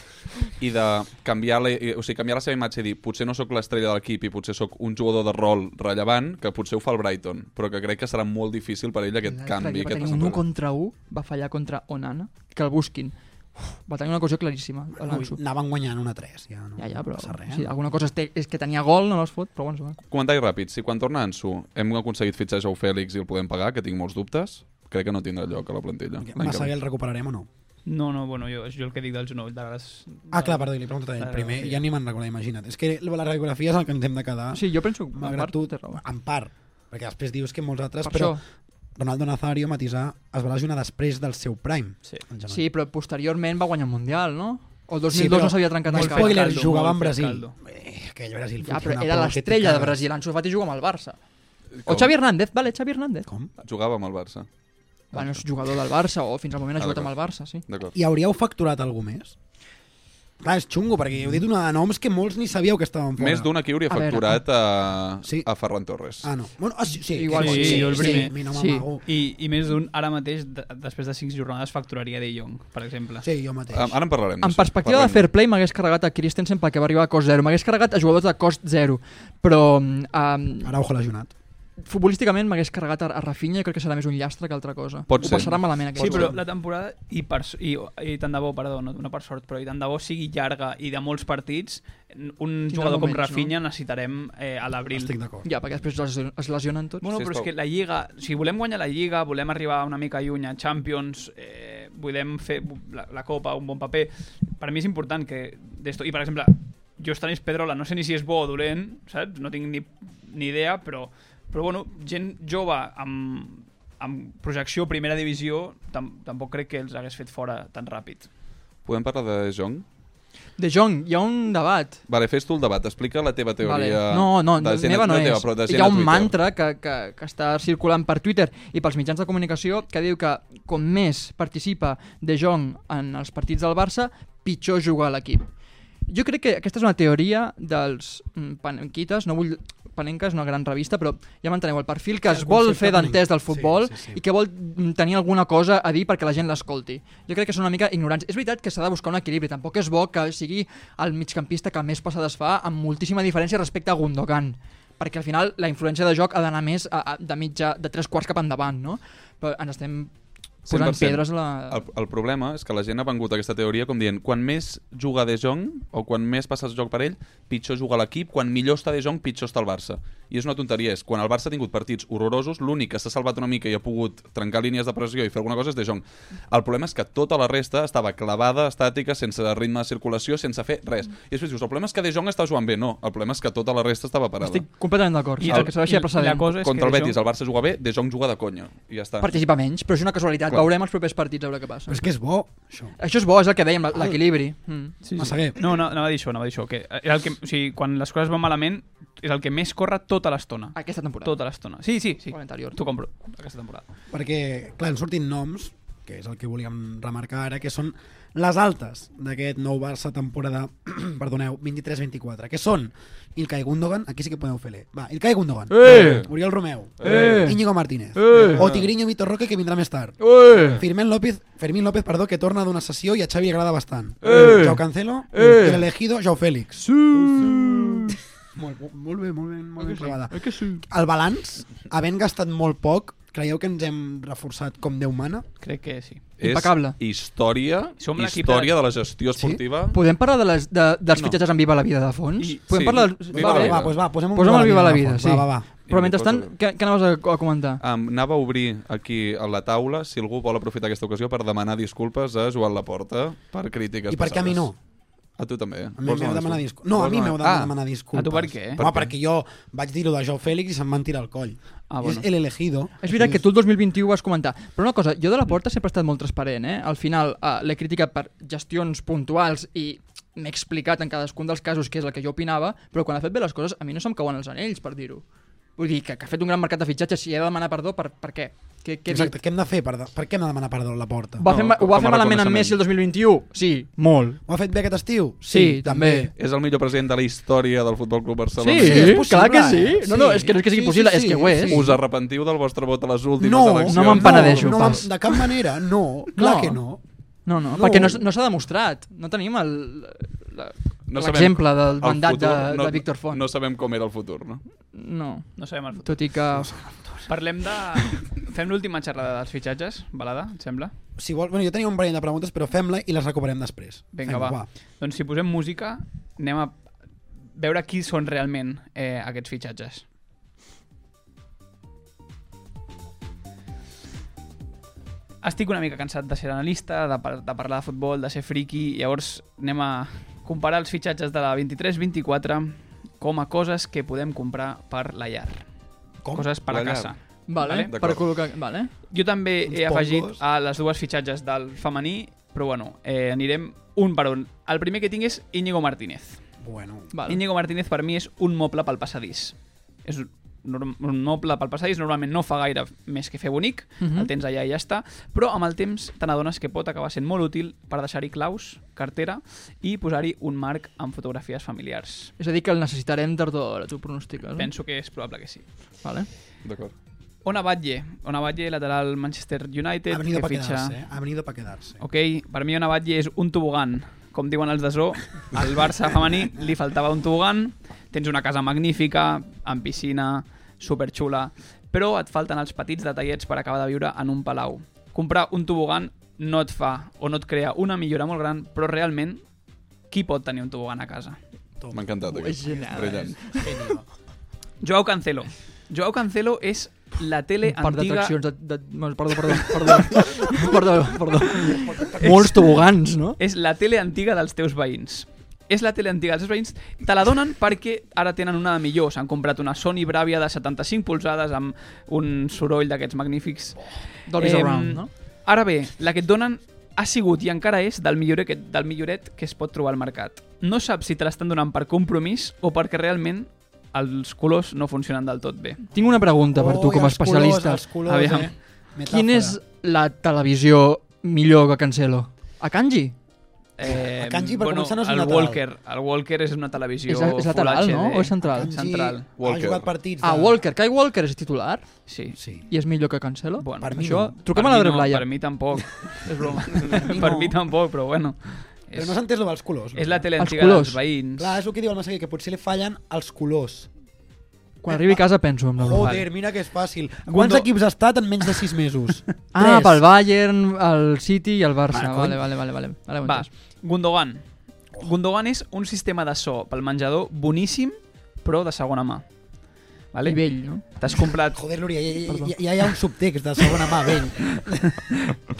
i de canviar la, i- o sigui, canviar la seva imatge i dir potser no sóc l'estrella de l'equip i potser sóc un jugador de rol rellevant que potser ho fa el Brighton, però que crec que serà molt difícil per ell aquest L'altre canvi. dia va aquest tenir un 1 desenvolupament. contra 1, va fallar contra Onana, que el busquin. Uf, va tenir una cosa claríssima, Ui, l'Ansu. anaven guanyant una 3, ja no Ja, ja, però passa res. eh? sí, no? alguna cosa es té, és que tenia gol, no les fot, però bueno, és igual. Comentari ràpid, si quan torna Ansu hem aconseguit fitxar Jou Fèlix i el podem pagar, que tinc molts dubtes, crec que no tindrà lloc a la plantilla. L'any que Massa ve. bé el recuperarem o no? No, no, bueno, jo, jo el que dic dels genolls, de les... Ah, clar, perdó, i li pregunto a ell Claro, primer, sí. ja ni me'n recordo, imagina't. És que la radiografia és el que ens hem de quedar, Sí, jo penso que en Ah, malgrat ah, part tu, té raó. en part, perquè després dius que molts altres, Per però això. Ronaldo Nazario, matisar, es va lesionar després del seu prime. Sí. el genoll. Sí, però posteriorment va guanyar el Mundial, no? O el 2002 Sí, però no s'havia trencat Molt Molt el fet cap. Spoiler, caldo, jugava molt en fet Brasil. caldo. Eh, aquell Brasil fotia Ja, però una era por que te l'estrella de cagues. Brasil, Ansu Fati juga amb el Barça. O Com? Xavi Hernández, vale, Xavi Hernández. Com? Jugava amb el Barça. Bueno, és jugador del Barça, o fins al moment ha Ah, jugat amb el d'acord. Barça, sí. D'acord. I hauríeu facturat algú més? Clar, és xungo, perquè heu dit una de noms que molts ni sabíeu que estaven fora. Més d'un aquí hauria A veure, facturat a, Sí. a Ferran Torres. Ah, no. Bueno, ah, sí, sí, Igual sí, sí, sí, jo el primer. sí, mi no Sí. m'amago. Sí. I, I més d'un, ara mateix, de, després de 5 jornades, facturaria De Jong, per exemple. sí, jo mateix. Um, Ara en parlarem. En perspectiva de fair play m'hagués carregat a Christensen perquè va arribar a cost zero. M'hagués carregat a jugadors de cost zero. Però um, Araujo lesionat. futbolísticament m'hagués carregat a, a Rafinha i crec que serà més un llastre que altra cosa. Pot Ho ser. passarà malament aquest Sí, any. però la temporada, i, per, s- i, i tant de bo, perdó, no, no per sort, però i tant de bo sigui llarga i de molts partits, n- un Tindrà jugador com moments, Rafinha necessitarem eh, a l'abril. Estic d'acord. Ja, perquè després es, es lesionen tots. Bueno, Sí, però és estau. que la Lliga, si volem guanyar la Lliga, volem arribar una mica lluny a Champions, eh, volem fer la, la Copa, un bon paper, per mi és important que d'esto... I, per exemple, jo Stanis Pedrola, no sé ni si és bo o dolent, saps? No tinc ni, ni idea, però, però bueno, gent jove amb, amb projecció primera divisió, tam tampoc crec que els hagués fet fora tan ràpid. Podem parlar de Jong? De Jong, hi ha un debat. Vale, fes tu el debat. Explica la teva teoria. Vale. No, no, de gent- meva no, teva, és. però de gent Hi ha a un Twitter. mantra que, que, que està circulant per Twitter i pels mitjans de comunicació que diu que com més participa De Jong en els partits del Barça, pitjor juga l'equip. Jo crec que aquesta és una teoria dels mm, panenquites, no vull... Panenca és una gran revista, però ja m'enteneu, el perfil que Sí, es el vol concepte fer d'entès panenca. del futbol Sí, sí, sí. i que vol mm, tenir alguna cosa a dir perquè la gent l'escolti. Jo crec que són una mica ignorants. És veritat que s'ha de buscar un equilibri. Tampoc és bo que sigui el migcampista que més passades fa amb moltíssima diferència respecte a Gundogan perquè al final la influència de joc ha d'anar més a, a, de mitja, de tres quarts cap endavant, no? Però ens estem posant 100%. pedres a la... El, el problema és que la gent ha vengut a aquesta teoria com dient quan més juga De Jong o quan més passa el joc per ell, pitjor juga l'equip, quan millor està De Jong, pitjor està el Barça. I és una tonteria, és quan el Barça ha tingut partits horrorosos, l'únic que s'ha salvat una mica i ha pogut trencar línies de pressió i fer alguna cosa és De Jong. El problema és que tota la resta estava clavada, estàtica, sense ritme de circulació, sense fer res. I després dius, el problema és que De Jong està jugant bé. No, el problema és que tota la resta estava parada. Estic completament d'acord. I I el- el que s'ha de i deixar la precedent. cosa és que Contra el De Betis, Jong- el Barça juga bé, De Jong juga de conya. I ja està. Participa menys, però és una casualitat. Clar. Veurem els propers partits a veure què passa. Però és que és bo, això. Això és bo, és el que dèiem, la- l'equilibri. Mm. Sí, Massaguer. No, no, anava a dir això, anava a dir això. Que era el que, o sigui, quan les coses van malament, és el que més corre tota l'estona. Aquesta temporada. Tota l'estona. Sí, sí, sí. O l'anterior. T'ho compro, aquesta temporada. Perquè, clar, han sortit noms, que és el que volíem remarcar ara, que són les altes d'aquest nou Barça temporada, perdoneu, 23-24, que són Ilkay Gundogan, aquí sí que podeu fer-le. Va, Ilkay Gundogan, Eh! Oriol Romeu, Eh! Íñigo Martínez, Eh! o Tigriño Vitor Roque, que vindrà més tard. Eh! Fermín López, Fermín López, perdó, que torna d'una sessió i a Xavi li agrada bastant. Eh! Jao Cancelo, Eh! i l'elegido Jao Fèlix. Sí! Molt, molt bé, molt ben, molt ben trebada. que sí. El balanç, havent gastat molt poc, creieu que ens hem reforçat com Déu mana? Crec que sí. Impecable. És història, Som l'equip història de- de la gestió esportiva. Podem parlar de les, de, dels No. fitxatges en Viva la Vida de fons? I- Podem sí, parlar... Viva la vale. Vida. va, pues va, posem un Posa'm el Viva la de Vida, fons. sí. Va, va, va. Però mentrestant, què, què anaves a, a comentar? Um, anava a obrir aquí a la taula si algú vol aprofitar aquesta ocasió per demanar disculpes a Joan Laporta per crítiques I per què a passades. mi no? A tu també. A mi m'heu de demanar disculpes. No, a mi m'heu de demanar disculpes. A tu per què? Home, perquè jo vaig dir-ho de Joao Fèlix i se'm van tirar el coll. Ah, És bueno. el elegido. És veritat que tu el 2021 ho vas comentar, però una cosa, jo de la porta sempre he estat molt transparent, eh? Al final eh, l'he criticat per gestions puntuals i m'he explicat en cadascun dels casos què és el que jo opinava, però quan ha fet bé les coses a mi no se'm cauen els anells, per dir-ho. Vull dir, que, que ha fet un gran mercat de fitxatges i he de demanar perdó per, per què? Què, què he dit? Exacte, què hem de fer? Per, de- per què hem de demanar perdó a la porta? Va No, fer, ma- ho com va a fer malament en reconeixement. Messi el 2021? Sí, molt. Ho ha fet bé aquest estiu? Sí, també. És el millor president de la història del Futbol Club Barcelona. Sí, és possible, clar que sí. eh? No, no, Sí. és que no és que sigui Sí, possible, sí, és que sí, ho és. sí. Us arrepentiu del vostre vot a les últimes No, eleccions? no me'n penedeixo, no, pas. de cap manera, no. Clar No. que no. No, no, No. perquè no, s- no s'ha demostrat. No tenim el... la- No sabem L'exemple del el mandat futur, de, de Víctor Font. No sabem com era el futur, no? no. No sabem el futur. Tot i que... Parlem de... Fem l'última xerrada dels fitxatges, Balada, et sembla? Si vol, bueno, jo tenia un parell de preguntes, però fem-la i les recuperem després. Vinga, va. Doncs si posem música, anem a veure qui són realment eh, aquests fitxatges. Estic una mica cansat de ser analista, de, par de parlar de futbol, de ser friki, llavors anem a comparar els fitxatges de la 23-24 com a coses que podem comprar per la llar. Com? Coses per La la, llar. casa. Vale, Vale? per col·locar... Vale. Jo també Uns he afegit pongos. a les dues fitxatges del femení, però bueno, eh, anirem un per un. El primer que tinc és Íñigo Martínez. Bueno, Vale. Íñigo Martínez per mi és un moble pel passadís. És un- norm- un moble pel passadís, normalment no fa gaire més que fer bonic, Mhm. el tens allà i ja està, però amb el temps te n'adones que pot acabar sent molt útil per deixar-hi claus, cartera i posar-hi un marc amb fotografies familiars. És a dir, que el necessitarem tard o d'hora, tu pronostiques. no? Penso que és probable que sí. Vale. D'acord. Ona Batlle, Ona Batlle, lateral Manchester United, ha venido que para fitxa... quedarse, eh? ha venido para quedarse. Ok, per mi una batlle és un tobogan. Com diuen els de Zoo, al Barça femení li faltava un tobogan, tens una casa magnífica, amb piscina, superxula, però et falten els petits detallets per acabar de viure en un palau. Comprar un tobogan no et fa o no et crea una millora molt gran, però realment qui pot tenir un tobogan a casa? M'ha encantat aquest. Brillant. Joao Cancelo. Joao Cancelo és la tele Per antiga... d'atraccions... De, de... no, Perdó, perdó, perdó. perdó, perdó. Molts tobogans, no? és la tele antiga dels teus veïns. És la tele antiga dels teus veïns. Te la donen perquè ara tenen una de millor. S'han comprat una Sony Bravia de 75 polzades amb un soroll d'aquests magnífics. Dolby's Em, around, no? Ara bé, la que et donen ha sigut i encara és del milloret, que- del milloret que es pot trobar al mercat. No saps si te l'estan donant per compromís o perquè realment els colors no funcionen del tot bé. Tinc una pregunta per tu Oi, com a els especialista. Oh, Colors, els colors, Aviam. eh? Metàfora. Quina és la televisió millor que Cancelo? A Kanji? Eh, El kanji, per començar, no és un el lateral. Walker, el Walker és una televisió És, la- és lateral, Full no? HD. O és central? Kanji Central. Ha Walker. jugat partits de... Ah, Walker. Kai Walker és titular Sí. Sí. i és millor que Cancelo? Bueno, Per mi Això... no. Truquem Per a la mi Drew Laia. No, per mi tampoc. és broma. mi per no. mi tampoc, però bueno. És, Però no s'ha entès el dels colors. no? és la tele Els antiga dels colors. veïns. Clar, és el que diu el Massaguer, que potser li fallen els colors. Quan arribi a casa penso en la Oh, Drew Joder, mira que és fàcil. Quants Gundo- equips ha estat en menys de 6 mesos? Ah, Tres. pel Bayern, el City i el Barça. Ah, cony. Vale, vale, vale. vale. vale ho he Va, entès. Gundogan. Gundogan és un sistema de so pel menjador boníssim, però de segona mà. Vale? I vell, no? T'has comprat... Joder, Lúria, ja, Perdó. ja, ja hi ha un subtext de segona mà, ben.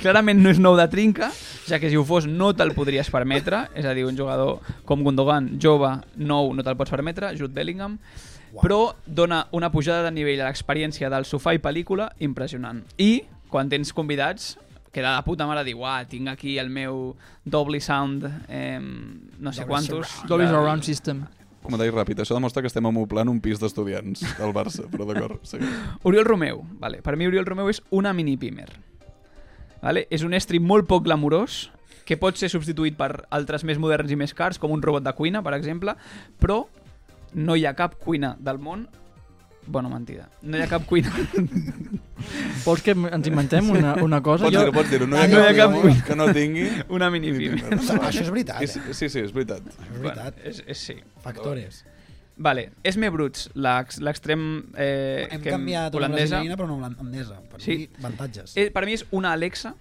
Clarament no és nou de trinca, ja que si ho fos no te'l podries permetre. És a dir, un jugador com Gundogan, jove, nou, no te'l pots permetre, Jude Bellingham. Però dona una pujada de nivell a l'experiència del sofà i pel·lícula impressionant. I, quan tens convidats, que de la puta mare diu, uah, tinc aquí el meu doble sound, eh, no sé Doble quantos. surround. Dolby's del- Around System. Comentari ràpid. Això demostra que estem amoplant un pis d'estudiants del Barça, però d'acord. segueix. Oriol Romeu, vale. per mi Oriol Romeu és una mini pimer. Vale? És un estri molt poc glamurós, que pot ser substituït per altres més moderns i més cars, com un robot de cuina, per exemple, però no hi ha cap cuina del món Bueno, mentida. No hi ha cap cuina. Vols que ens inventem una, una cosa? Pots dir-ho, pots dir-ho. No hi ha No hi ha cap, cap cuina que no tingui... Una minifilm. Això és veritat, És, eh? sí, sí, és veritat. Això és Bueno, eh, veritat. és, és, sí. Factores. Vale, és me bruts, l'ex- l'extrem eh, Hem que canviat una holandesa. brasileïna per una holandesa. Per Sí. sí. mi, avantatges. Eh, per mi és una Alexa,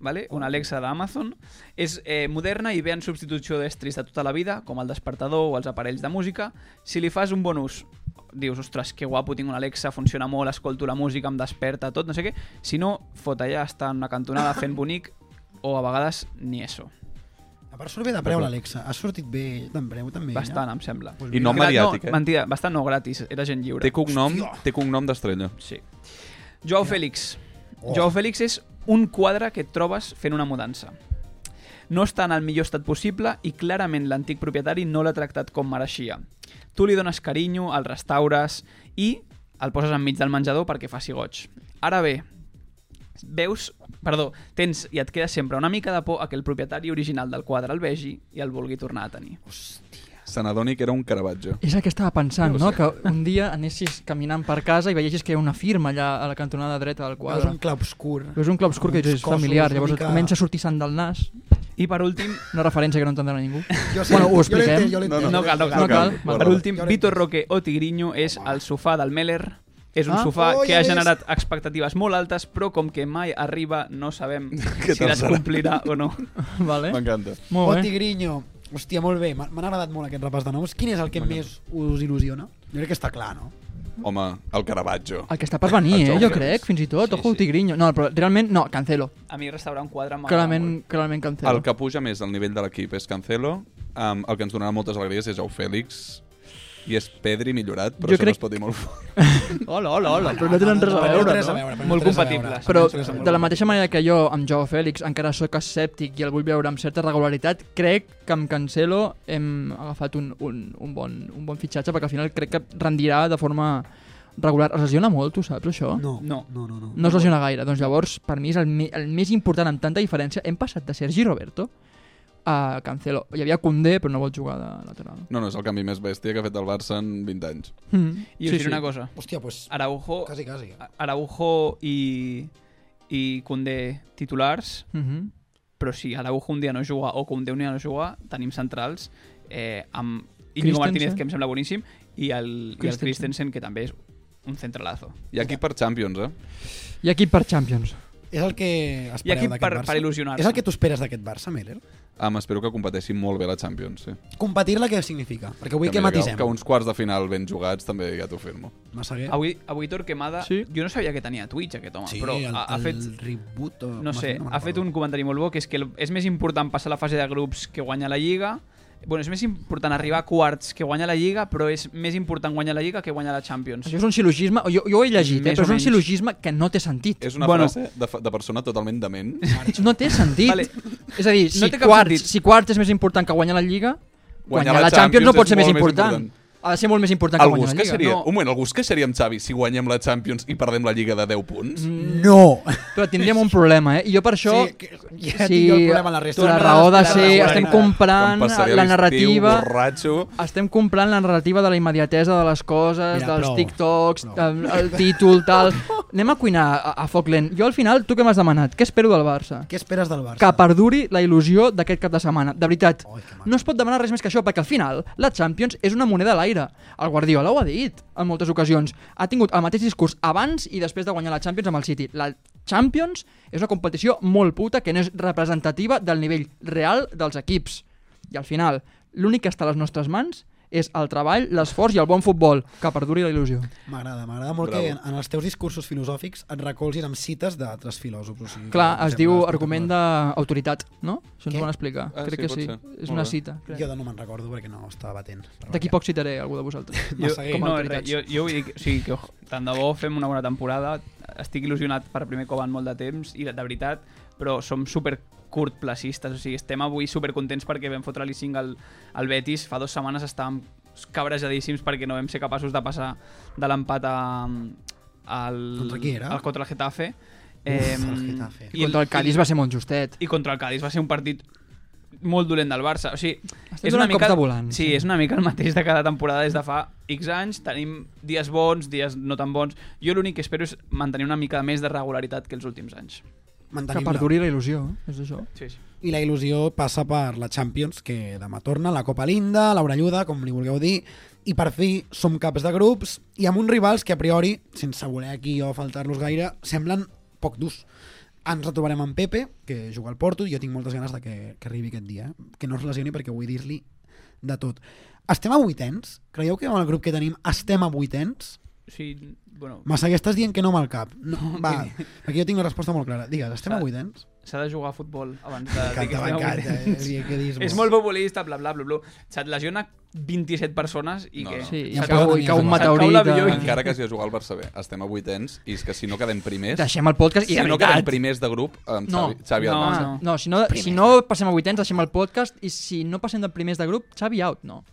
vale? una Alexa d'Amazon. És eh, moderna i ve en substitució d'estris de tota la vida, com el despertador o els aparells de música. Si li fas un bon ús, dius, ostres, que guapo, tinc una Alexa, funciona molt, escolto la música, em desperta, tot, no sé què. Si no, fot allà, està en una cantonada fent bonic, o a vegades ni eso. A part surt bé de preu l'Alexa. Ha sortit bé d'en preu també. eh? Bastant, em sembla. Pues I no Gra- mediàtic, eh? no, mentida, bastant no, gratis, era gent lliure. Té cognom, té cognom d'estrella. Sí. Joao Félix. Oh. Joao Félix és un quadre que et trobes fent una mudança. No està en el millor estat possible i clarament l'antic propietari no l'ha tractat com mereixia. Tu li dones carinyo, el restaures i el poses enmig del menjador perquè faci goig. Ara bé, veus, perdó, tens i et queda sempre una mica de por a que el propietari original del quadre el vegi i el vulgui tornar a tenir. Se n'adoni que era un caravatge. És el que estava pensant, no? Que un dia anessis caminant per casa i veiessis que hi ha una firma allà a la cantonada dreta del Veus quadre. un clauscur. Veus un clarobscur que Uns és cossos familiar, una llavors et mica- comença a sortir sang del nas. I per últim, Una referència que no entendrà ningú. Jo Bueno, ho jo l'entenc, expliquem. Jo l'entenc, No cal, no cal. No cal. Bueno, Per últim, Jo l'he Vitor entès. Roque o Tigriño és el sofà del Meller. És un Ah. sofà Oh, que ja ha ves. generat expectatives molt altes, però com que mai arriba, no sabem Què si tal les serà? complirà o no. Vale. M'encanta. Oh, Molt bé. Tigrinho. Hòstia, molt bé. M'ha m'ha agradat molt aquest repàs de noms. Quin és el que més us il·lusiona? Jo crec que està clar, no? Home, el caravatge. El que està per venir, eh? Joao Jo Félix. crec, fins i tot. Sí, Ojo, sí. Tigrinho. No, però realment, no, cancelo. A mi restaurar un quadre m'agrada Clarament, clarament cancelo. El que puja més al nivell de l'equip és Cancelo. Um, el que ens donarà moltes alegries és Au Félix. I és Pedri millorat, però Jo això crec- no es pot dir molt fort. Hola, hola, hola. Però no tenen res a Ah, no, veure, res a no? veure, molt. però no Molt res a compatibles. veure. Però No res a veure. de la mateixa manera que jo amb Joao Fèlix encara sóc escèptic i el vull veure amb certa regularitat, crec que amb Cancelo hem agafat un, un, un, bon, un bon fitxatge perquè al final crec que rendirà de forma regular. Es lesiona molt, tu saps, això? No, No. no, no. no. No es lesiona gaire. Doncs llavors, per mi és el, me- el més important amb tanta diferència. Hem passat de Sergi Roberto a Cancelo. Hi havia Koundé, però no vol jugar de lateral. No, no, és el canvi més bèstia que ha fet el Barça en 20 anys. Mm. I us diré una cosa. Hòstia, pues, Ah, Araujo, quasi, quasi. Araujo i, i Koundé titulars, Mhm. però si Araujo un dia no juga o Koundé un dia no juga, tenim centrals eh, amb Christensen. Íñigo Martínez, que em sembla boníssim, i el, i el Christensen. Christensen, que també és un centralazo. I aquí per Champions, eh? I equip per Champions. És el que I aquí espereu d'aquest per, Barça? per il·lusionar-se. És el que tu esperes d'aquest Barça, Meller? Um, espero que competeixi molt bé la Champions, sí. Competir-la què significa? Perquè vull que També matisem. Que uns quarts de final ben jugats també ja t'ho firmo. Massaguer? Avui, avui Torquemada, Sí. sí. jo no sabia que tenia Twitch aquest home, Sí, Ah, però el, ha, ha el fet, reboot... o- no sé, me'n ha fet recordo. un comentari molt bo, que és que el, és més important passar la fase de grups que guanyar la Lliga, bueno, és més important arribar a quarts que guanyar la Lliga, però és més important guanyar la Lliga que guanyar la Champions. Això és un silogisme, jo, jo ho he llegit, eh, Més o però és un menys. silogisme que no té sentit. És una Bueno. frase de, fa- de persona totalment dement. No té sentit. Vale. És a dir, si, No té cap quarts, sentit. si quarts és més important que guanyar la Lliga, guanyar, Guanyar la la Champions, Champions no pot és ser més molt més important. important. Ha de ser molt més important que Algú guanyar es la Lliga. queixaria... no. Un moment, algú es queixaria amb Xavi si guanyem la Champions i perdem la Lliga de 10 punts? Mm, No! Però tindríem un problema, eh? I jo per això... Sí, que- ja tinc jo el problema en la resta. La raó de La ser... regularitat. Estem Com comprant passaria la l'estiu, narrativa... borratxo... Estem comprant la narrativa de la immediatesa de les coses, Mira, dels prou, TikToks, prou. del- el títol, tal... Anem a cuinar a, a foc lent. Jo al final, tu què m'has demanat? Què espero del Barça? Què esperes del Barça? que perduri la il·lusió d'aquest cap de setmana. De veritat, Ai, que maco. no es pot demanar res més que això, perquè al final la Champions és una moneda a l'aire. El Guardiola ho ha dit en moltes ocasions. Ha tingut el mateix discurs abans i després de guanyar la Champions amb el City. La Champions és una competició molt puta que no és representativa del nivell real dels equips. I al final, l'únic que està a les nostres mans és el treball, l'esforç i el bon futbol. Que perduri la il·lusió. M'agrada, m'agrada molt Bravo. que en, en els teus discursos filosòfics et recolzis amb cites d'altres filòsofos. O sigui, que Clar, em es sembla diu espectacular. argument d'autoritat, no? Això ens Què? ho van explicar. Ah, crec sí, que pot sí. ser. És Molt una bé. cita. crec. Jo de no me'n recordo perquè no estava atent. Però D'aquí ja. poc eh? citaré algú de vosaltres. Jo, Massaguer. no, a res, veritats. jo, jo vull dir que, o sigui, que oh, tant de bo fem una bona temporada, estic il·lusionat per primer cop en molt de temps, i de, de veritat, però som super curtplacistes, o sigui, estem avui super contents perquè vam fotre l'I5 al, al Betis, fa dues setmanes estàvem cabrejadíssims perquè no vam ser capaços de passar de l'empat a, al, Contra qui era? al contra el Getafe. Uf, el Getafe. I contra el Cádiz va ser molt justet. I contra el Cádiz va ser un partit molt dolent del Barça. O sigui, Estem donant cops de volant, Sí, sí. és una mica el mateix de cada temporada des de fa X anys. Tenim dies bons, dies no tan bons. Jo l'únic que espero és mantenir una mica més de regularitat que els últims anys. Que Mantenim-la. perduri la il·lusió, eh? és això. Sí, sí. I la il·lusió passa per la Champions, que demà torna, la Copa Linda, la Bralluda, com li vulgueu dir, i per fi som caps de grups i amb uns rivals que a priori, sense voler aquí o faltar-los gaire, semblen poc durs. Ens retrobarem amb Pepe, que juga al Porto, i jo tinc moltes ganes de que, que arribi aquest dia, eh? que no es lesioni perquè vull dir-li de tot. Estem a vuitens? Creieu que amb el grup que tenim estem a vuitens? O sigui, bueno, Massaguer, estàs dient que no amb el cap. No, va, aquí jo tinc una resposta molt clara. Digues, estem a S'ha- vuitens? s'ha de jugar a futbol abans de... dir Ah, que M'encanta, estem a m'encanta. vuitens. eh? Sí, que dis És molt populista, bla, bla, bla, bla. Se't lesiona 27 persones i No, que... no. Sí, i Ja se't- cau, i poden cau un eh? anar a jugar. meteorit. Se't cau l'avió i- de- Encara que es va jugar al Barça bé, estem a vuitens i és que si no quedem primers... Deixem el podcast i Si de no quedem veritat. primers de grup amb No. Xavi, Xavi No, al Barça. no. No, si no, si no passem a vuitens, deixem el podcast i si no passem de primers de grup, Xavi out, no.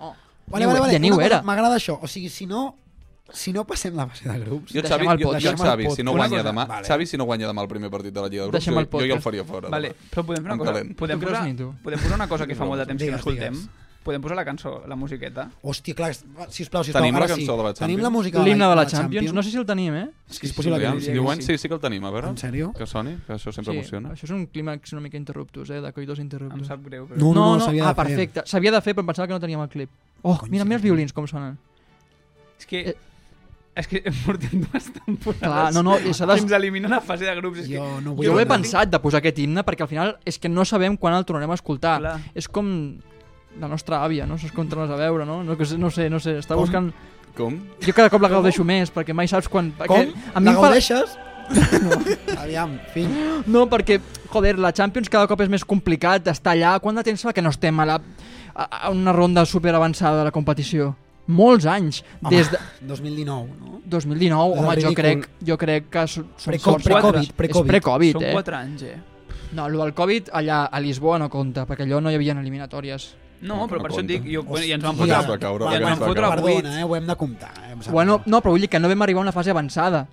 Oh. Vale, vale, vale. Ja ni ho Una era. cosa- M'agrada això. O sigui, si no, si no passem la base de grups... Jo, Deixem Xavi, el jo, podcast. jo, Deixem el Xavi, si podcast. no guanya Una cosa, demà, vale. Xavi, si no guanya demà el primer partit de la Lliga de Grups, Deixem jo, el jo ja el podcast. faria fora. Vale, però podem fer una Amb cosa. talent. Podem No creus posar, ni tu. podem posar una cosa que fa molt de temps que no Digues, escoltem. digues. Podem posar la cançó, la musiqueta. Hòstia, clar, sisplau, sisplau. Tenim la ara cançó sí. de la Tenim la Champions? música L'himne de la Champions, no sé si el tenim, eh? És que és possible que... Aviam, no. sí, sí. diuen, sí, sí que el tenim, a veure. En sèrio? Que soni, que això sempre emociona. Això és un clímax una mica interruptus, eh? De coitos Em interruptus. sap greu, però... No, no, no, s'havia de ah, fer. perfecte. S'havia de fer, però em pensava que no teníem el clip. Oh, Cony, mira, sí mira els que- violins com sonen. És que... Eh. És que portem dues temporades Clar, no, no, i s'ha de... fins a eliminar la fase de grups. És que... Jo no vull... Jo ho he anar. pensat de posar aquest himne perquè al final és que no sabem quan el tornarem a escoltar. Clar. És com la nostra àvia, no? Saps com tornes a veure, no? No, que sé- no sé, no sé, està Com? buscant... Com? Jo cada cop la gaudeixo més perquè mai saps quan... Com? Perquè A mi la gaudeixes? No. Aviam, fill. No, perquè, joder, la Champions cada cop és més complicat d'estar allà. Quant de temps fa que no estem a, la, a, a una ronda super avançada de la competició? Molts anys. Home, Des de 2019, no? 2019, és home, jo ridícul. crec, jo crec que so- són Preco- són- Pre-Covid, és pre-Covid. pre-Covid, Són eh? quatre anys, eh? No, el del Covid allà a Lisboa no compta, perquè allò no hi havia eliminatòries. No, No, però no per això et dic... compta. Jo, bueno, I ens van Hòstia. fotre... Ja es va caure, i ja ens es van va fotre a caure. vuit. Perdona, eh, ho hem de comptar. eh, em sap Bueno, greu. no, però vull dir que no vam arribar a una fase avançada.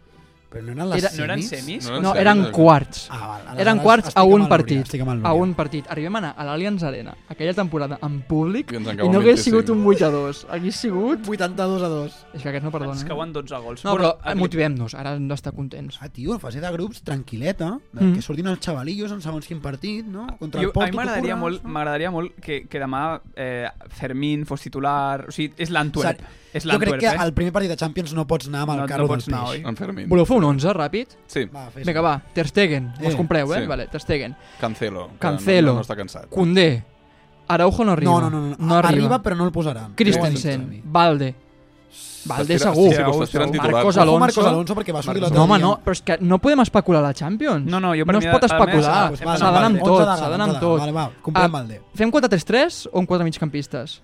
Però no eren les era- semis? No eren semis? No, No, sí, eren sí. quarts. Ah, val, aleshores Eren quarts a estic un amb el Núria, partit. Estic amb el A Núria. un partit. Arribem a anar a l'Allianz Arena aquella temporada en públic I ens en i cauen no hagués 25. sigut un 8 a 2. Hagués sigut... 82 a 2. És que aquests no perdonen. Ens eh? cauen 12 gols. No, però eh, eh, Bueno, motivem-nos, ara hem d'estar contents. Ah, tio, fase de grups, tranquil·leta, Mm. mm. que surtin els xavalillos en segons quin partit, no? Contra Jo, el a Porto, mi tu m'agradaria curres, molt, no? m'agradaria molt que, que demà eh, Fermín fos titular... O sigui, és l'Antwerp. Sar- És Jo crec l'Antwerp, que eh? al primer partit de Champions no pots anar amb el No- no carro del pots peix. anar, oi? En Fermín. Voleu fer un 11 ràpid? Sí, Va, fes Vinga, va, Ter Stegen, eh. Eh. els compreu, eh? Sí. Vale, Ter Stegen. Cancelo. que Cancelo. No, no, està cansat. Condé, Araujo no arriba. No, no, no, no. no arriba. arriba. però no el posaran. Christensen, Valde. Valde T'estira- segur. t'estira- Hòstia, t'estira en hòstia. titular. Marcos Alonso. Alonso. Marcos Alonso perquè va sortir Marcos l'altre No, home, dia. no, però és que no podem especular la Champions. No, no, jo per no mi es pot a- a més, especular. ah, pues S'ha va, d'anar amb Doncs vale. tot, Onze de s'ha gala, d'anar amb onze de tot. gala. Vale, va, comprem Ah, el D. Fem 4-3-3 o un 4 migcampistes?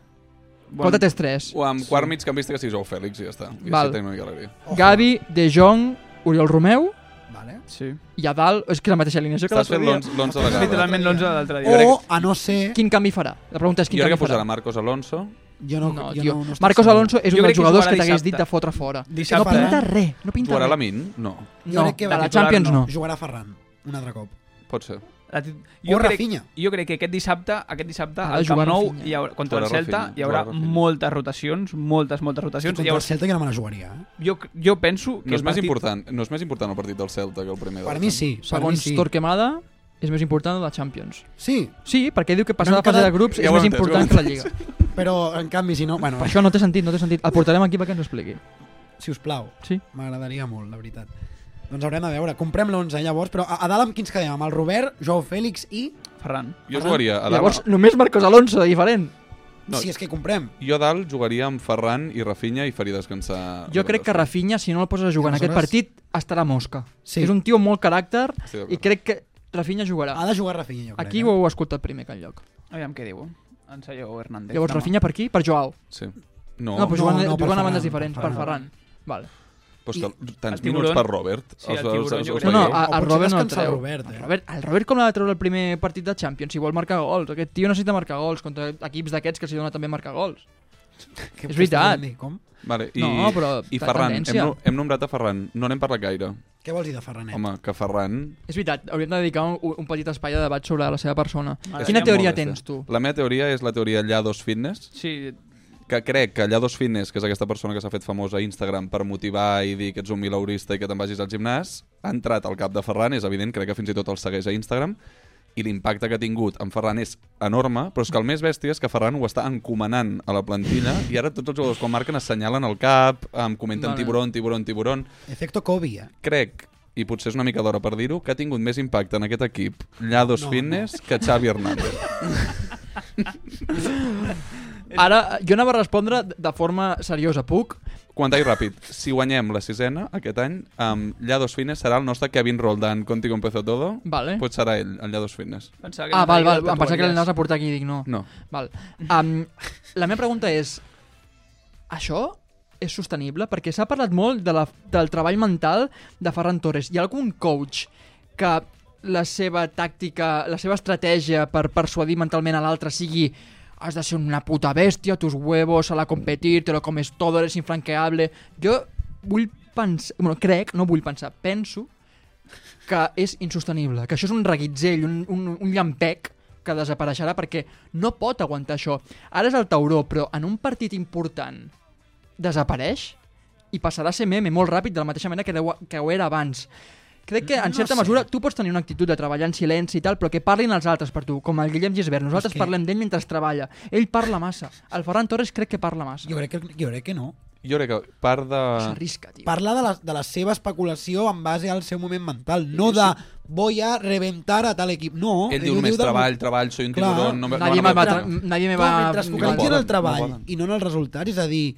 Bueno, 4-3-3. O amb quart mig campista que sigui Joao Fèlix i ja està. I Val. així tenim una galeria. Gavi, De Jong, Oriol Romeu Vale. Sí. i a dalt... És que la mateixa alineació que Estàs fent l'altre dia. l'11 de la gala. Literalment l'11 de l'altre dia. O, a no ser... Quin canvi farà? La pregunta és quin Jo crec canvi que posarà farà. Marcos Alonso. Jo no, No, jo tio. no, no estic Marcos segur. Alonso és Jo un crec dels que jugadors jugarà que t'hagués dit dissabte. de fotre fora. Dissabte, No Ferran. pinta res, no pinta Jugarà res. Lamin? No. Jo No, crec que de va la titular, Champions no. Jugarà Ferran, un altre cop. Pot ser. La tit- O crec, Rafinha. jo crec que aquest dissabte, aquest dissabte Ha de al Camp jugar Nou Rafinha. hi haurà, contra el Jugarà Celta Rafinha, hi haurà jugarà Rafinha. moltes rotacions, moltes, moltes Estic rotacions. contra el Llavors, Celta que no me la jugaria. Eh? jo, jo penso que No és, el més partit- important, no és més important el partit del Celta que el primer Per del mi Celta. sí. Per mi Segons sí. Torquemada, és més important la Champions. Sí, Sí, perquè diu que passar No la hem fase de quedat- grups Ja és ho més he entès, ho he important que la Lliga. però en canvi si no... Bueno, Per això no té sentit, no té sentit. El portarem aquí perquè ens ho expliqui. si us plau. Sí. M'agradaria molt, la veritat. Doncs haurem de veure. Comprem l'11 llavors, però a, a dalt amb quins quedem? Amb el Robert, Joao Fèlix i... Ferran. Jo jugaria a Llavors, dalt. només Marcos Alonso, de diferent. No. No. Si és que comprem. Jo a dalt jugaria amb Ferran i Rafinha i faria descansar. Jo crec que Rafinha, si no el poses a jugar en aquest Aleshores- partit, estarà mosca. Sí. És un tio amb molt caràcter Estic d'acord. i crec que Rafinha Ha jugarà. de jugar Rafinha, jo crec. Aquí eh? ho heu escoltat primer que enlloc. Aviam què diu. Ensayo Hernández. Llavors, demà. Rafinha per aquí? Per Joao. Sí. No, No, però no, jugant, no, per jugant a Ferran, bandes per diferents, per Ferran. Ferran. Vale. però és que El tants tiburón- minuts per Robert. Sí, el tiburón jo No, crec no, veieu? a, O a potser Robert no el descansa el treu. Robert, eh? El Robert, el Robert com l'ha de treure el primer partit de Champions si vol marcar gols? Aquest tio necessita marcar gols contra equips d'aquests que s'hi dona també marcar gols. Que És veritat. Com? Vale, i, No, però i ta Ferran, hem, tendència. no- hem nombrat a Ferran, no n'hem parlat gaire. Què vols dir de Ferranet? Home, que Ferran... És veritat, hauríem de dedicar un, un petit espai de debat sobre la seva persona. Ara, Quina ja teoria Molt bé, tens, sí. tu? La meva teoria és la teoria Llados Fitness, Sí, que crec que Llados Fitness, que és aquesta persona que s'ha fet famosa a Instagram per motivar i dir que ets un milaurista i que te'n vagis al gimnàs, ha entrat al cap de Ferran, és evident, crec que fins i tot el segueix a Instagram, i l'impacte que ha tingut en Ferran és enorme, però és que el més bèstia és que Ferran ho està encomanant a la plantilla i ara tots els jugadors quan marquen assenyalen el cap, em comenten Vale. tiburón, tiburón, tiburón... Efecto Kobe, eh? crec, i potser és una mica d'hora per dir-ho, que ha tingut més impacte en aquest equip Llados No, no, Fitness que Xavi Hernández. Eh, Ara, jo anava a respondre de forma seriosa, puc? Comentar ràpid, si guanyem la sisena aquest any, um, Llados Fitness serà el nostre Kevin Roldán, Contigo empezó todo, Vale. pot serà ell, el Llados Fitness. pensava que Ah, no val, traia val, em pensava que tatualles. l'anaves a portar aquí i dic no. No. Val. Um, la meva pregunta és... Això és sostenible? Perquè s'ha parlat molt de la, del treball mental de Ferran Torres. Hi ha algun coach que la seva tàctica, la seva estratègia per persuadir mentalment a l'altre sigui has de ser una puta bèstia, tus huevos, a la competir, te lo comes todo, eres infranqueable... Jo vull pensar... Bueno, crec, no vull pensar, penso que és insostenible, que això és un reguitzell, un, un, un llampec que desapareixerà perquè no pot aguantar això. Ara és el tauró, però en un partit important desapareix i passarà a ser meme molt ràpid de la mateixa manera que, deu, que ho era abans. Crec que, en certa mesura, tu pots tenir una actitud de treballar en silenci i tal, però que parlin els altres per tu, com el Guillem Gisbert. Nosaltres que- parlem d'ell mentre treballa. Ell parla massa. El Ferran Torres crec que parla massa. Jo crec que, jo crec que no. Jo crec que part de... S'arrisca, tio. Parla de la, de la seva especulació en base al seu moment mental, no de voy a reventar a tal equip. No, Ell diu només del- treball, treball, soy un Clar. tiburón... No, me- Nadie no, me me- va... matar. tra- Nadie me Clar, va... mentre es no focalitzi en poden, el treball no poden. i no en els resultats, és a dir,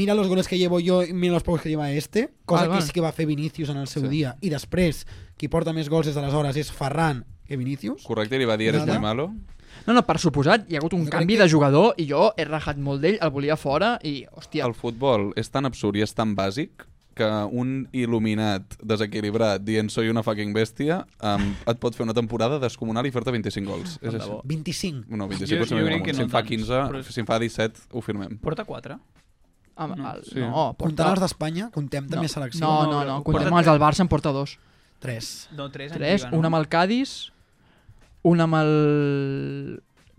mira los goles que llevo jo i mira los pocos que lleva este, cosa Val, que val. sí que va fer Vinícius en el seu Sí. sí. dia, i després, qui porta més gols des d'aleshores és Ferran que Vinícius. Correcte, li va dir, eres Nada. muy malo. No, no, per suposat, hi ha hagut un Jo crec canvi que- de jugador i jo he rajat molt d'ell, el volia fora i, hòstia, El futbol és tan absurd i és tan bàsic que un il·luminat desequilibrat dient soy una fucking bèstia um, et pot fer una temporada descomunal i fer-te 25 gols. És així. 25. No, 25 Ah, Jo- potser jo m'he crec que agradat. no Si en fa tants, 15, però és- si en fa 17, ho firmem. Porta 4. Amb, No, no, el, Mm, sí. no, Comptant porta... els d'Espanya, contem també no. selecció. No, no, no, no, no, contem porta els del Barça, en porta dos. 3. No, 3 Tres, una amb el Cádiz, una amb el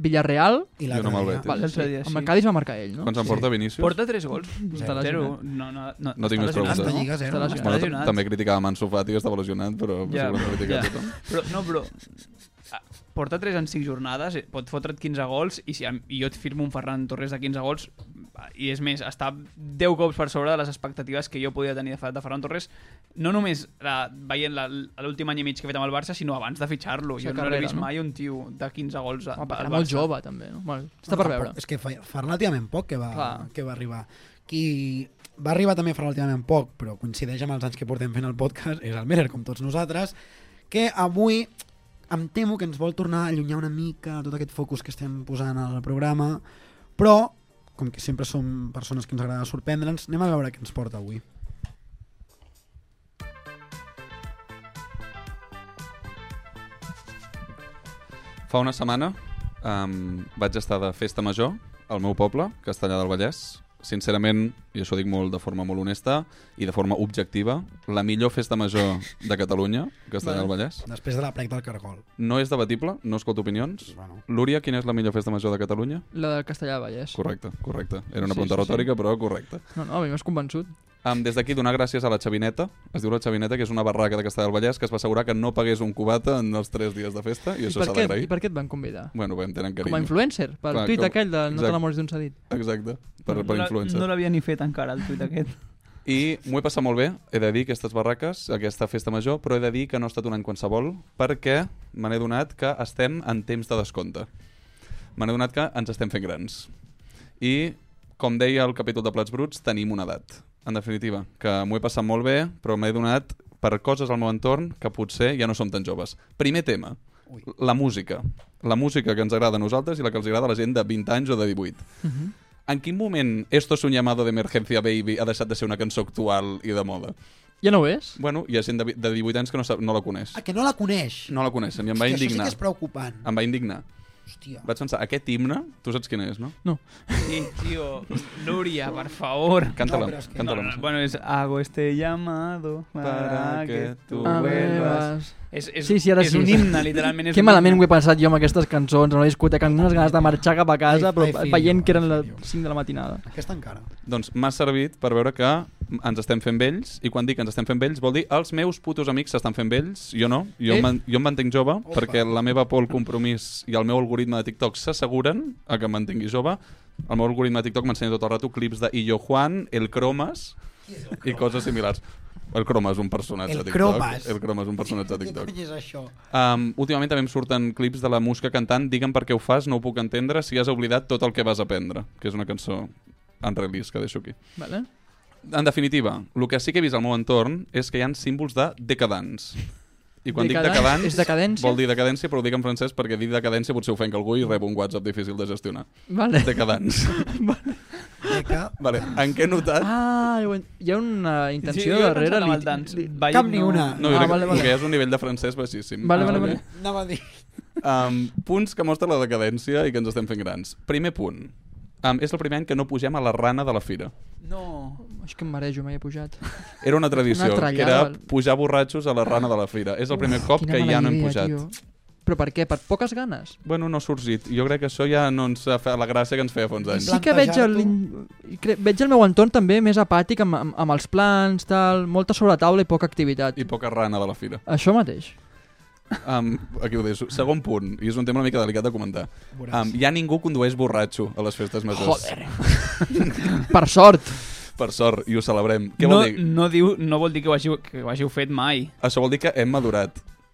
Villarreal, I Jo no me'l l'altre dia. veig. Vale, L'altre dia, amb sí. el Cádiz va marcar ell, no? Quants en porta Vinícius? Porta 3 gols. Zero. Zero. No, no, no, No tinc està lesionat, més preguntes. Tanta no? lliga, zero. Està no? lesionat. Bueno, lesionat. ta- també criticava Manso Fati, que estava lesionat, però Ja, ja, segurament critica ja. tothom. Però, no, però ah, porta 3 en 5 jornades, eh, pot fotre't 15 gols i si am- i jo et firmo un Ferran Torres de 15 gols ah, i és més, està 10 cops per sobre de les expectatives que jo podia tenir de Fer- de Ferran Torres no només la, veient la- l'últim any i mig que ha fet amb el Barça, sinó abans de fitxar-lo. Sí, Jo no carrera, l'he vist no? mai un tio de 15 gols a, Home, perquè al era molt Barça. jove, també, no? Bueno, està per No, veure. És que fa, fa relativament poc que va, Clar. que va arribar. Qui va arribar també fa relativament poc, però coincideix amb els anys que portem fent el podcast, és el Merer, com tots nosaltres, que avui em temo que ens vol tornar a allunyar una mica de tot aquest focus que estem posant al programa, però, com que sempre som persones que ens agrada sorprendre'ns, anem a veure què ens porta avui. Fa una setmana um, vaig estar de festa major al meu poble, Castellà del Vallès. Sincerament, i això ho dic molt de forma molt honesta i de forma objectiva, la millor festa major de Catalunya, Castellà del Vallès. Després de la plec del cargol. No és debatible, no escolto opinions. Bueno. Lúria, quina és la millor festa major de Catalunya? La del Castellà de Vallès. Correcte, correcte. Era una Sí, pregunta sí, sí. retòrica, però correcte. No, no, a mi m'has convençut. Um, des d'aquí donar gràcies a la Xavineta, es diu la Xavineta, que és una barraca de Castellà del Vallès que es va assegurar que no pagués un cubata en els tres dies de festa i I això per, s'ha què, I d'agrair. per què et van convidar? Bueno, bé, em tenen Com a carinyo. influencer, pel Clar, tuit com- aquell de no exacte. te l'amores d'un cedit. Exacte, per, No per la- influencer. No l'havia ni fet encara, el tuit aquest. I m'ho he passat molt bé, he de dir, aquestes barraques, aquesta festa major, però he de dir que no ha estat un any qualsevol, perquè me n'he donat que estem en temps de descompte. Me n'he donat que ens estem fent grans. I, com deia el capítol de Plats Bruts, tenim una edat. En definitiva, que m'ho he passat molt bé, però m'he donat per coses al meu entorn que potser ja no som tan joves. Primer tema, Ui. la música. La música que ens agrada a nosaltres i la que els agrada a la gent de 20 anys o de 18. En quin moment Esto es un llamado de emergencia baby ha deixat de ser una cançó actual i de moda? Ja no ho és? Bueno, hi ha gent de, vi- de 18 anys que no, sap, no la coneix. Ah, que no la coneix. No la coneixen i em va Hòstia, això sí indignar. que és preocupant. Em va indignar. Hòstia. Vaig pensar, aquest himne, tu saps quin és, no? Sí, tío. Núria, por favor. Canta-la, però és que- canta-la. No, no, bueno, es hago este llamado para, Para que que tú tú A vuelvas. veure, És, és, Sí, sí, ara és sí. un himne, literalment. És Que un malament ho himne. he pensat jo amb aquestes cançons, a la discoteca, amb unes ganes de marxar cap a casa, I- I però feel veient you, que eren I les feel you. 5 de la matinada. Aquesta encara. Doncs m'ha servit per veure que ens estem fent vells, i quan dic que ens estem fent vells vol dir els meus putos amics s'estan fent vells, jo no, jo, Eh? eh? jo em mantenc jove, perquè la meva por al compromís i el meu algoritme de TikTok s'asseguren a que em mantingui jove, el meu algoritme de TikTok m'ensenya tot el rato clips de Illo Juan, El Cromas i coses similars. El Cromas és un personatge El de TikTok. Cromas. El Cromas és un personatge de Què TikTok. cony és això? Um, últimament també em surten clips de la Musca cantant Digue'm per què ho fas, no ho puc entendre si has oblidat tot el que vas aprendre, que és una cançó en release que deixo aquí. Vale. En definitiva, el que sí que he vist al meu entorn és que hi han símbols de decadans. I quan dic Decadans decadans, és decadència? vol dir decadència, però ho dic en francès perquè dir decadència potser ofenc algú i rebo un WhatsApp difícil de gestionar. Vale. Decadans. De que... vale. En què he notat? Ah, ho he- hi ha una Sí, intenció jo he darrere. pensat amb el li- dance. li- Ball Cap ni una. No, ah, jo crec vale, que- vale. que és un nivell de francès baixíssim. Vale, Ah, vale, ok. vale. Anava a dir... Um, punts que mostra la decadència i que ens estem fent grans. Primer punt. Um, és el primer any que no pugem a la rana de la fira. No. És que em marejo, m'he pujat. Era una tradició, Una trallada, que era val. pujar borratxos a la rana de la fira. És el primer cop Quina que mala ja no hem idea, pujat. tio. Però per què? Per poques ganes? Bueno, no ha sorgit. Jo crec que això ja no ens fa la gràcia que ens feia fa uns anys. Clar. Sí que veig el, Plantejar-t'ho. cre- veig el meu entorn també més apàtic amb, amb, amb els plans, tal, molta sobretaula i poca activitat. I poca rana de la fira. Això mateix. Um, aquí ho deixo. Segon punt, i és un tema una mica delicat de comentar. Um, Veuràs. ja ningú condueix borratxo a les festes majors. Joder. per sort. Per sort, i ho celebrem. Què No, vol dir? no, diu, no vol dir que ho, hàgiu, que ho hàgiu fet mai. Això vol dir que hem madurat.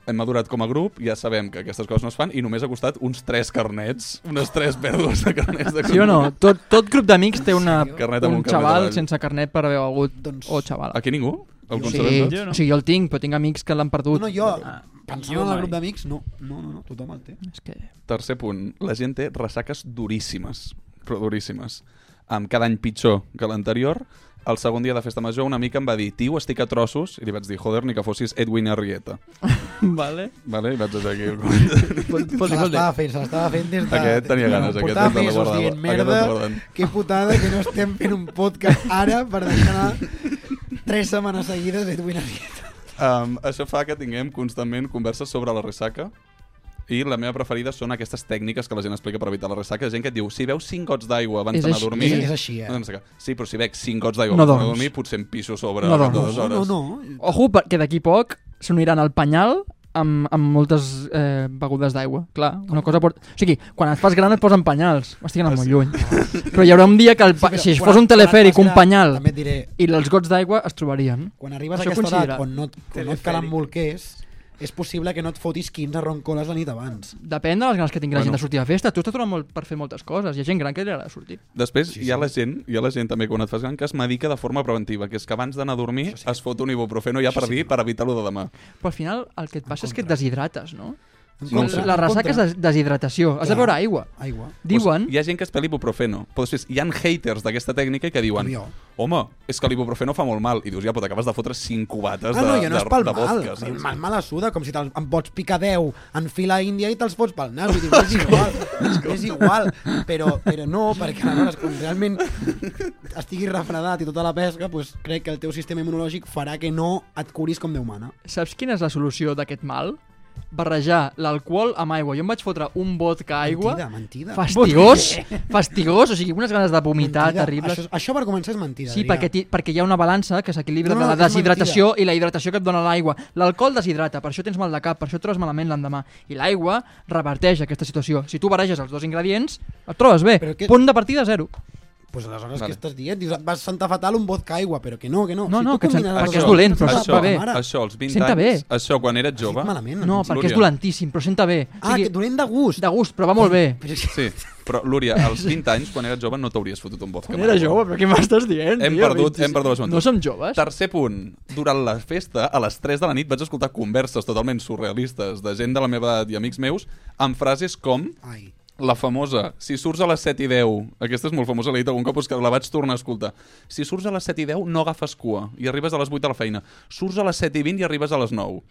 Hem madurat com a grup, ja sabem que aquestes coses no es fan i només ha costat uns 3 carnets, unes 3 pèrdues de carnets. De Sí o no? Tot, tot grup d'amics té una, Carnet amb un un carnet xaval avall. sense carnet per haver begut Doncs- Oh, o xaval. Aquí ningú? El Sí, concebem tot? Jo no. o sigui, jo el tinc, però tinc amics que l'han No, perdut. no, jo, Ah, pensant jo en el mai. grup d'amics, no. No, no, no, tothom el té. És que... Tercer punt. La gent té ressaques duríssimes, però duríssimes. Amb cada any pitjor que l'anterior. El segon dia de festa major una mica em va dir tio, estic a trossos, i li vaig dir joder, ni que fossis Edwin Arrieta. Vale. Vale? I vaig deixar aquí el comentari. Pot, Se pot, dir, pot dir. l'estava fent, se l'estava fent des de... Aquest tenia ganes, aquest Portava ens l'ha mesos guardat, dient, aquest ens l'ha merda, guardat." que putada que no estem fent un podcast ara per deixar anar tres setmanes seguides Edwin Arrieta. Um, això fa que tinguem constantment converses sobre la ressaca i la meva preferida són aquestes tècniques que la gent explica per evitar la ressaca. Gent que et diu, si beus 5 gots d'aigua abans És d'anar a així, dormir... és així, eh? no sé què. Sí, però si bec 5 gots d'aigua No abans d'anar a dorms. dormir, potser em piso a sobre No no, dorms. dues hores. No, no, Ojo, perquè d'aquí a poc s'uniran al penyal amb, amb moltes eh, begudes d'aigua. Clar, una cosa pot... O sigui, quan et fas gran et posen penyals. Estic anant molt lluny. Però hi haurà un dia que el pa... però si es quan- fos un quan et telefèric, passi un la- penyal També et diré, i els gots d'aigua es trobarien. quan arribes Això a aquesta coincidirà. edat, on no, et- on no et calen bolquers, és possible que no et fotis 15 roncoles la nit abans. Depèn de les ganes que tingui la Bueno. gent de sortir de festa. Tu estàs donant molt per fer moltes coses. Hi ha gent gran que li agrada sortir. Després sí, sí. hi ha la gent, hi ha la gent també quan et fas gran que es medica de forma preventiva, que és que abans d'anar a dormir sí. es fot un ibuprofeno ja per dir per evitar-lo de demà. Però al final el que et passa és que et deshidrates, no? En No ho contra- sé. La en ressaca és contra. des deshidratació. Has de Clar. beure aigua. Aigua. Diuen... Pues, Doncs hi ha gent que es pela ibuprofeno, però després hi ha haters d'aquesta tècnica que diuen Com jo. home, és que l'ibuprofeno fa molt mal. I dius, ja, però t'acabes de fotre 5 cubates Ah, de, no, jo no de, eh? és pel de mal. vodka. A mi saps? el mal me la suda, com si te'l- em pots picar 10 en fila índia i te'ls fots pel nas. Vull dir, és igual, és igual. Però, però no, perquè aleshores, quan realment estiguis refredat i tota la pesca, doncs crec que el teu sistema immunològic farà que no et curis com Déu mana. Saps quina és la solució d'aquest mal? Barrejar l'alcohol amb aigua. Jo em vaig fotre un vodka aigua Mentida, mentida. fastigós, fastigós, o sigui, unes ganes de vomitar Mentida. terribles. Això, això per començar és mentida. Sí, Adrià. perquè, ti- perquè hi ha una balança que s'equilibra No, de no, la és deshidratació i la hidratació que et dona l'aigua. L'alcohol deshidrata, per això tens mal de cap, per això et trobes malament l'endemà. I l'aigua reverteix aquesta situació. Si tu bareges els dos ingredients, et trobes bé. Però que- Que... Punt de partida zero. Pues aleshores, Vale. vale. què estàs dient? Dius, et vas sentar fatal un vodka aigua, però que no, que no. No, no, tu que et combines sent- les perquè dues és dolent, coses, però et això, senta bé. mare. això, als 20 Senta anys, bé. això, quan eres Has dit jove... Malament, No, em sento. perquè és Núria. dolentíssim, però senta bé. O Mm. Ah, sigui, que dolent de gust. De gust, però va molt bé. Però és que- Sí, però, Lúria, als 20 anys, quan eres jove, no t'hauries fotut un vodka. Quan amb era aigua. jove, però què m'estàs dient? Hem tio? perdut- hem perdut la joventut. No som joves? Tercer punt. Durant la festa, a les 3 de la nit, vaig escoltar converses totalment surrealistes de gent de la meva edat i amics meus amb frases com Ai. la famosa, si surts a les 7 i 10, aquesta és molt famosa, l'he dit algun cop, però és que la vaig tornar a escoltar. Si surts a les 7 i 10, no agafes cua i arribes a les 8 a la feina. Surts a les 7 i 20 i arribes a les 9.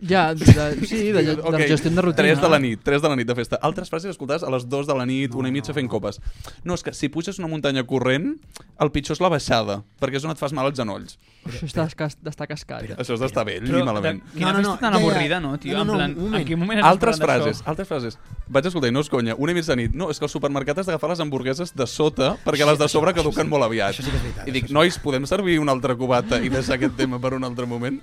Ja, de, sí, de, de, de Ok, la gestió de rutina. eh? 3 de la nit, 3 de la nit de festa. Altres frases escoltades a les 2 de la nit, una i mitja fent copes. No, és que si puges una muntanya corrent, el pitjor és la baixada, perquè és on et fas mal als genolls. Això està, cas- està cascat. Això és d'estar vell Però i malament. de- Quina no, no, no, tan ja, ja. avorrida, no, tio? No, no, no, en un plan, moment. en quin moment ens Altres parlaran frases, d'això? altres frases. Vaig escoltar, i no és conya, una i mitja de nit. No, és que al supermercat has d'agafar les hamburgueses de sota perquè les de sobre caduquen molt aviat. Això sí que és veritat. I dic, nois, podem servir una altra cubata i deixar aquest tema per un altre moment?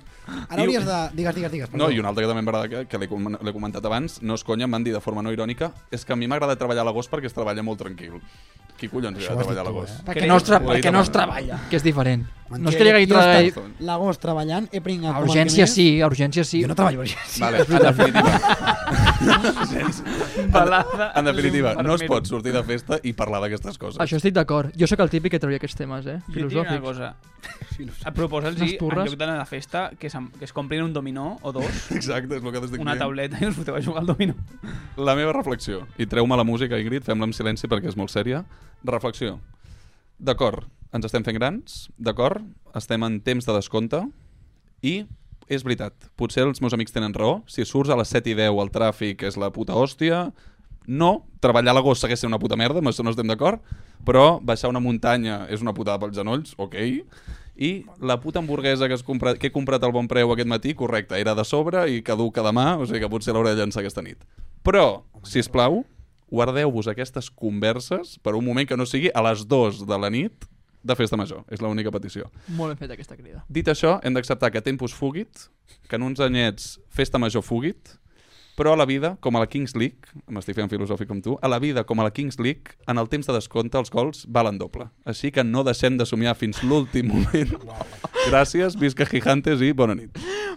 Ara I- hauries de... Digues, digues, digues. No, i un altre que també m'agrada, que, que l'he comen- l'he comentat abans, no és conya, em van dir de forma no irònica, és que a mi m'agrada treballar a l'agost perquè es treballa molt tranquil. Qui collons Això era ho has dit treballar a tu, eh? l'agost? Perquè Que no es, tra Ho he dit perquè no es abans. treballa, que és diferent. No és Mentira, que llegui jo he treball... estat L'agost treballant, he pringat A com el urgència primer. sí, a urgència sí. Jo no treballo a urgència. Vale, en definitiva, Balada en definitiva, no es l'infermero. pot sortir de festa i parlar d'aquestes coses. Això estic d'acord. Jo sóc el típic que treballo aquests temes, eh? Jo diria una Filosòfics. cosa. A proposar-los, Unes en turres. lloc d'anar a la festa, que, se'm- que es comprin un dominó o dos, Exacte, és el que t'estic una dient. tauleta i us foteu a jugar al dominó. La meva reflexió, i treu-me la música, Ingrid, fem-la amb silenci perquè és molt sèria. Reflexió. D'acord, ens estem fent grans, d'acord, estem en temps de descompte, i és veritat, potser els meus amics tenen raó, si surts a les 7 i 10 al tràfic és la puta hòstia, no, treballar a l'agost segueix sent una puta merda, amb això no estem d'acord, però baixar una muntanya és una putada pels genolls, ok, i la puta hamburguesa que, has comprat, que he comprat al bon preu aquest matí, correcte, era de sobre i caduca demà, o sigui que potser l'hauré de llançar aquesta nit. Però, si us plau, guardeu-vos aquestes converses per un moment que no sigui a les 2 de la nit de festa major. És l'única petició. Molt ben feta aquesta crida. Dit això, hem d'acceptar que Tempus fugit, que en uns anyets festa major fugit, però a la vida, com a la Kings League, m'estic fent filosòfic com tu, a la vida, com a la Kings League, en el temps de descompte els gols valen doble. Així que no deixem de somiar fins l'últim moment. Gràcies, visca Gigantes i bona nit.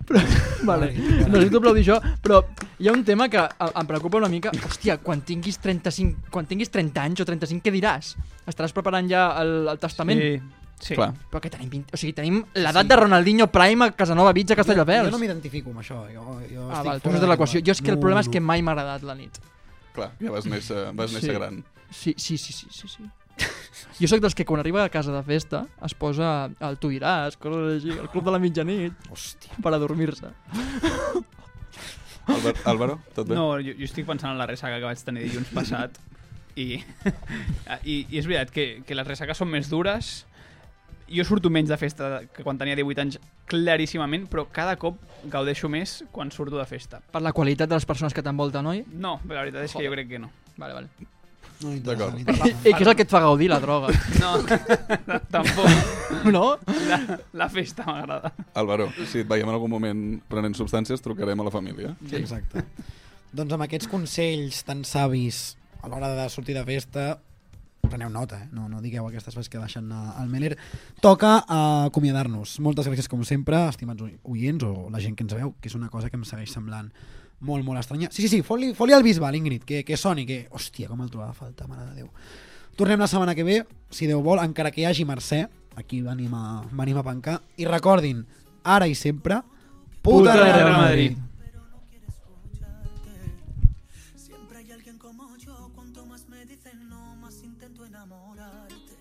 Però, vale. Necessito aplaudir jo, però hi ha un tema que a- em preocupa una mica. Hòstia, quan tinguis 35, quan tinguis 30 anys o 35, què diràs? Estaràs preparant ja el, el testament? Sí, sí. Clar. Però que tenim 20... O sigui, tenim l'edat sí. de Ronaldinho Prime a Casanova Beach a Castelldefels. Jo no m'identifico amb això. Jo, jo Ah, estic val, tu fora no és de l'equació. Jo és que el No, problema és no. que mai m'ha agradat la nit. Clar, ja vas néixer, vas néixer Sí. sí. gran. Sí, sí, sí, sí, sí, sí. Jo sóc dels que quan arriba a casa de festa es posa el tu diràs, coses així, el club de la mitjanit, Hòstia. per adormir-se. Álvar- Álvaro, tot bé? No, jo, jo estic pensant en la ressaca que vaig tenir dilluns passat i, i, i és veritat que, que les ressaques són més dures jo surto menys de festa que quan tenia 18 anys claríssimament, però cada cop gaudeixo més quan surto de festa. Per la qualitat de les persones que t'envolten, oi? No, la veritat és que jo crec que no. Vale, vale. No D'acord. m'interessa. I, m'interessa. i què és el que et fa gaudir la droga? No, tampoc. No? La, la festa m'agrada. Álvaro, si et veiem en algun moment prenent substàncies, trucarem a la família. Sí, Exacte. doncs amb aquests consells tan savis a l'hora de sortir de festa, preneu nota, eh? no, no digueu aquestes coses que deixen anar al Meller. Toca eh, acomiadar-nos. Moltes gràcies, com sempre, estimats oi- oients o la gent que ens veu, que és una cosa que em segueix semblant molt, molt estranya. Sí, sí, sí, fot-li fot al bisbal, Ingrid, que, que soni, que... Hòstia, com el trobava a falta, mare de Déu. Tornem la setmana que ve, si Déu vol, encara que hi hagi Mercè, aquí venim a, venim a pencar, i recordin, ara i sempre, Puta Real Madrid. Siempre hay alguien como yo, cuanto más me dicen no, más intento enamorarte.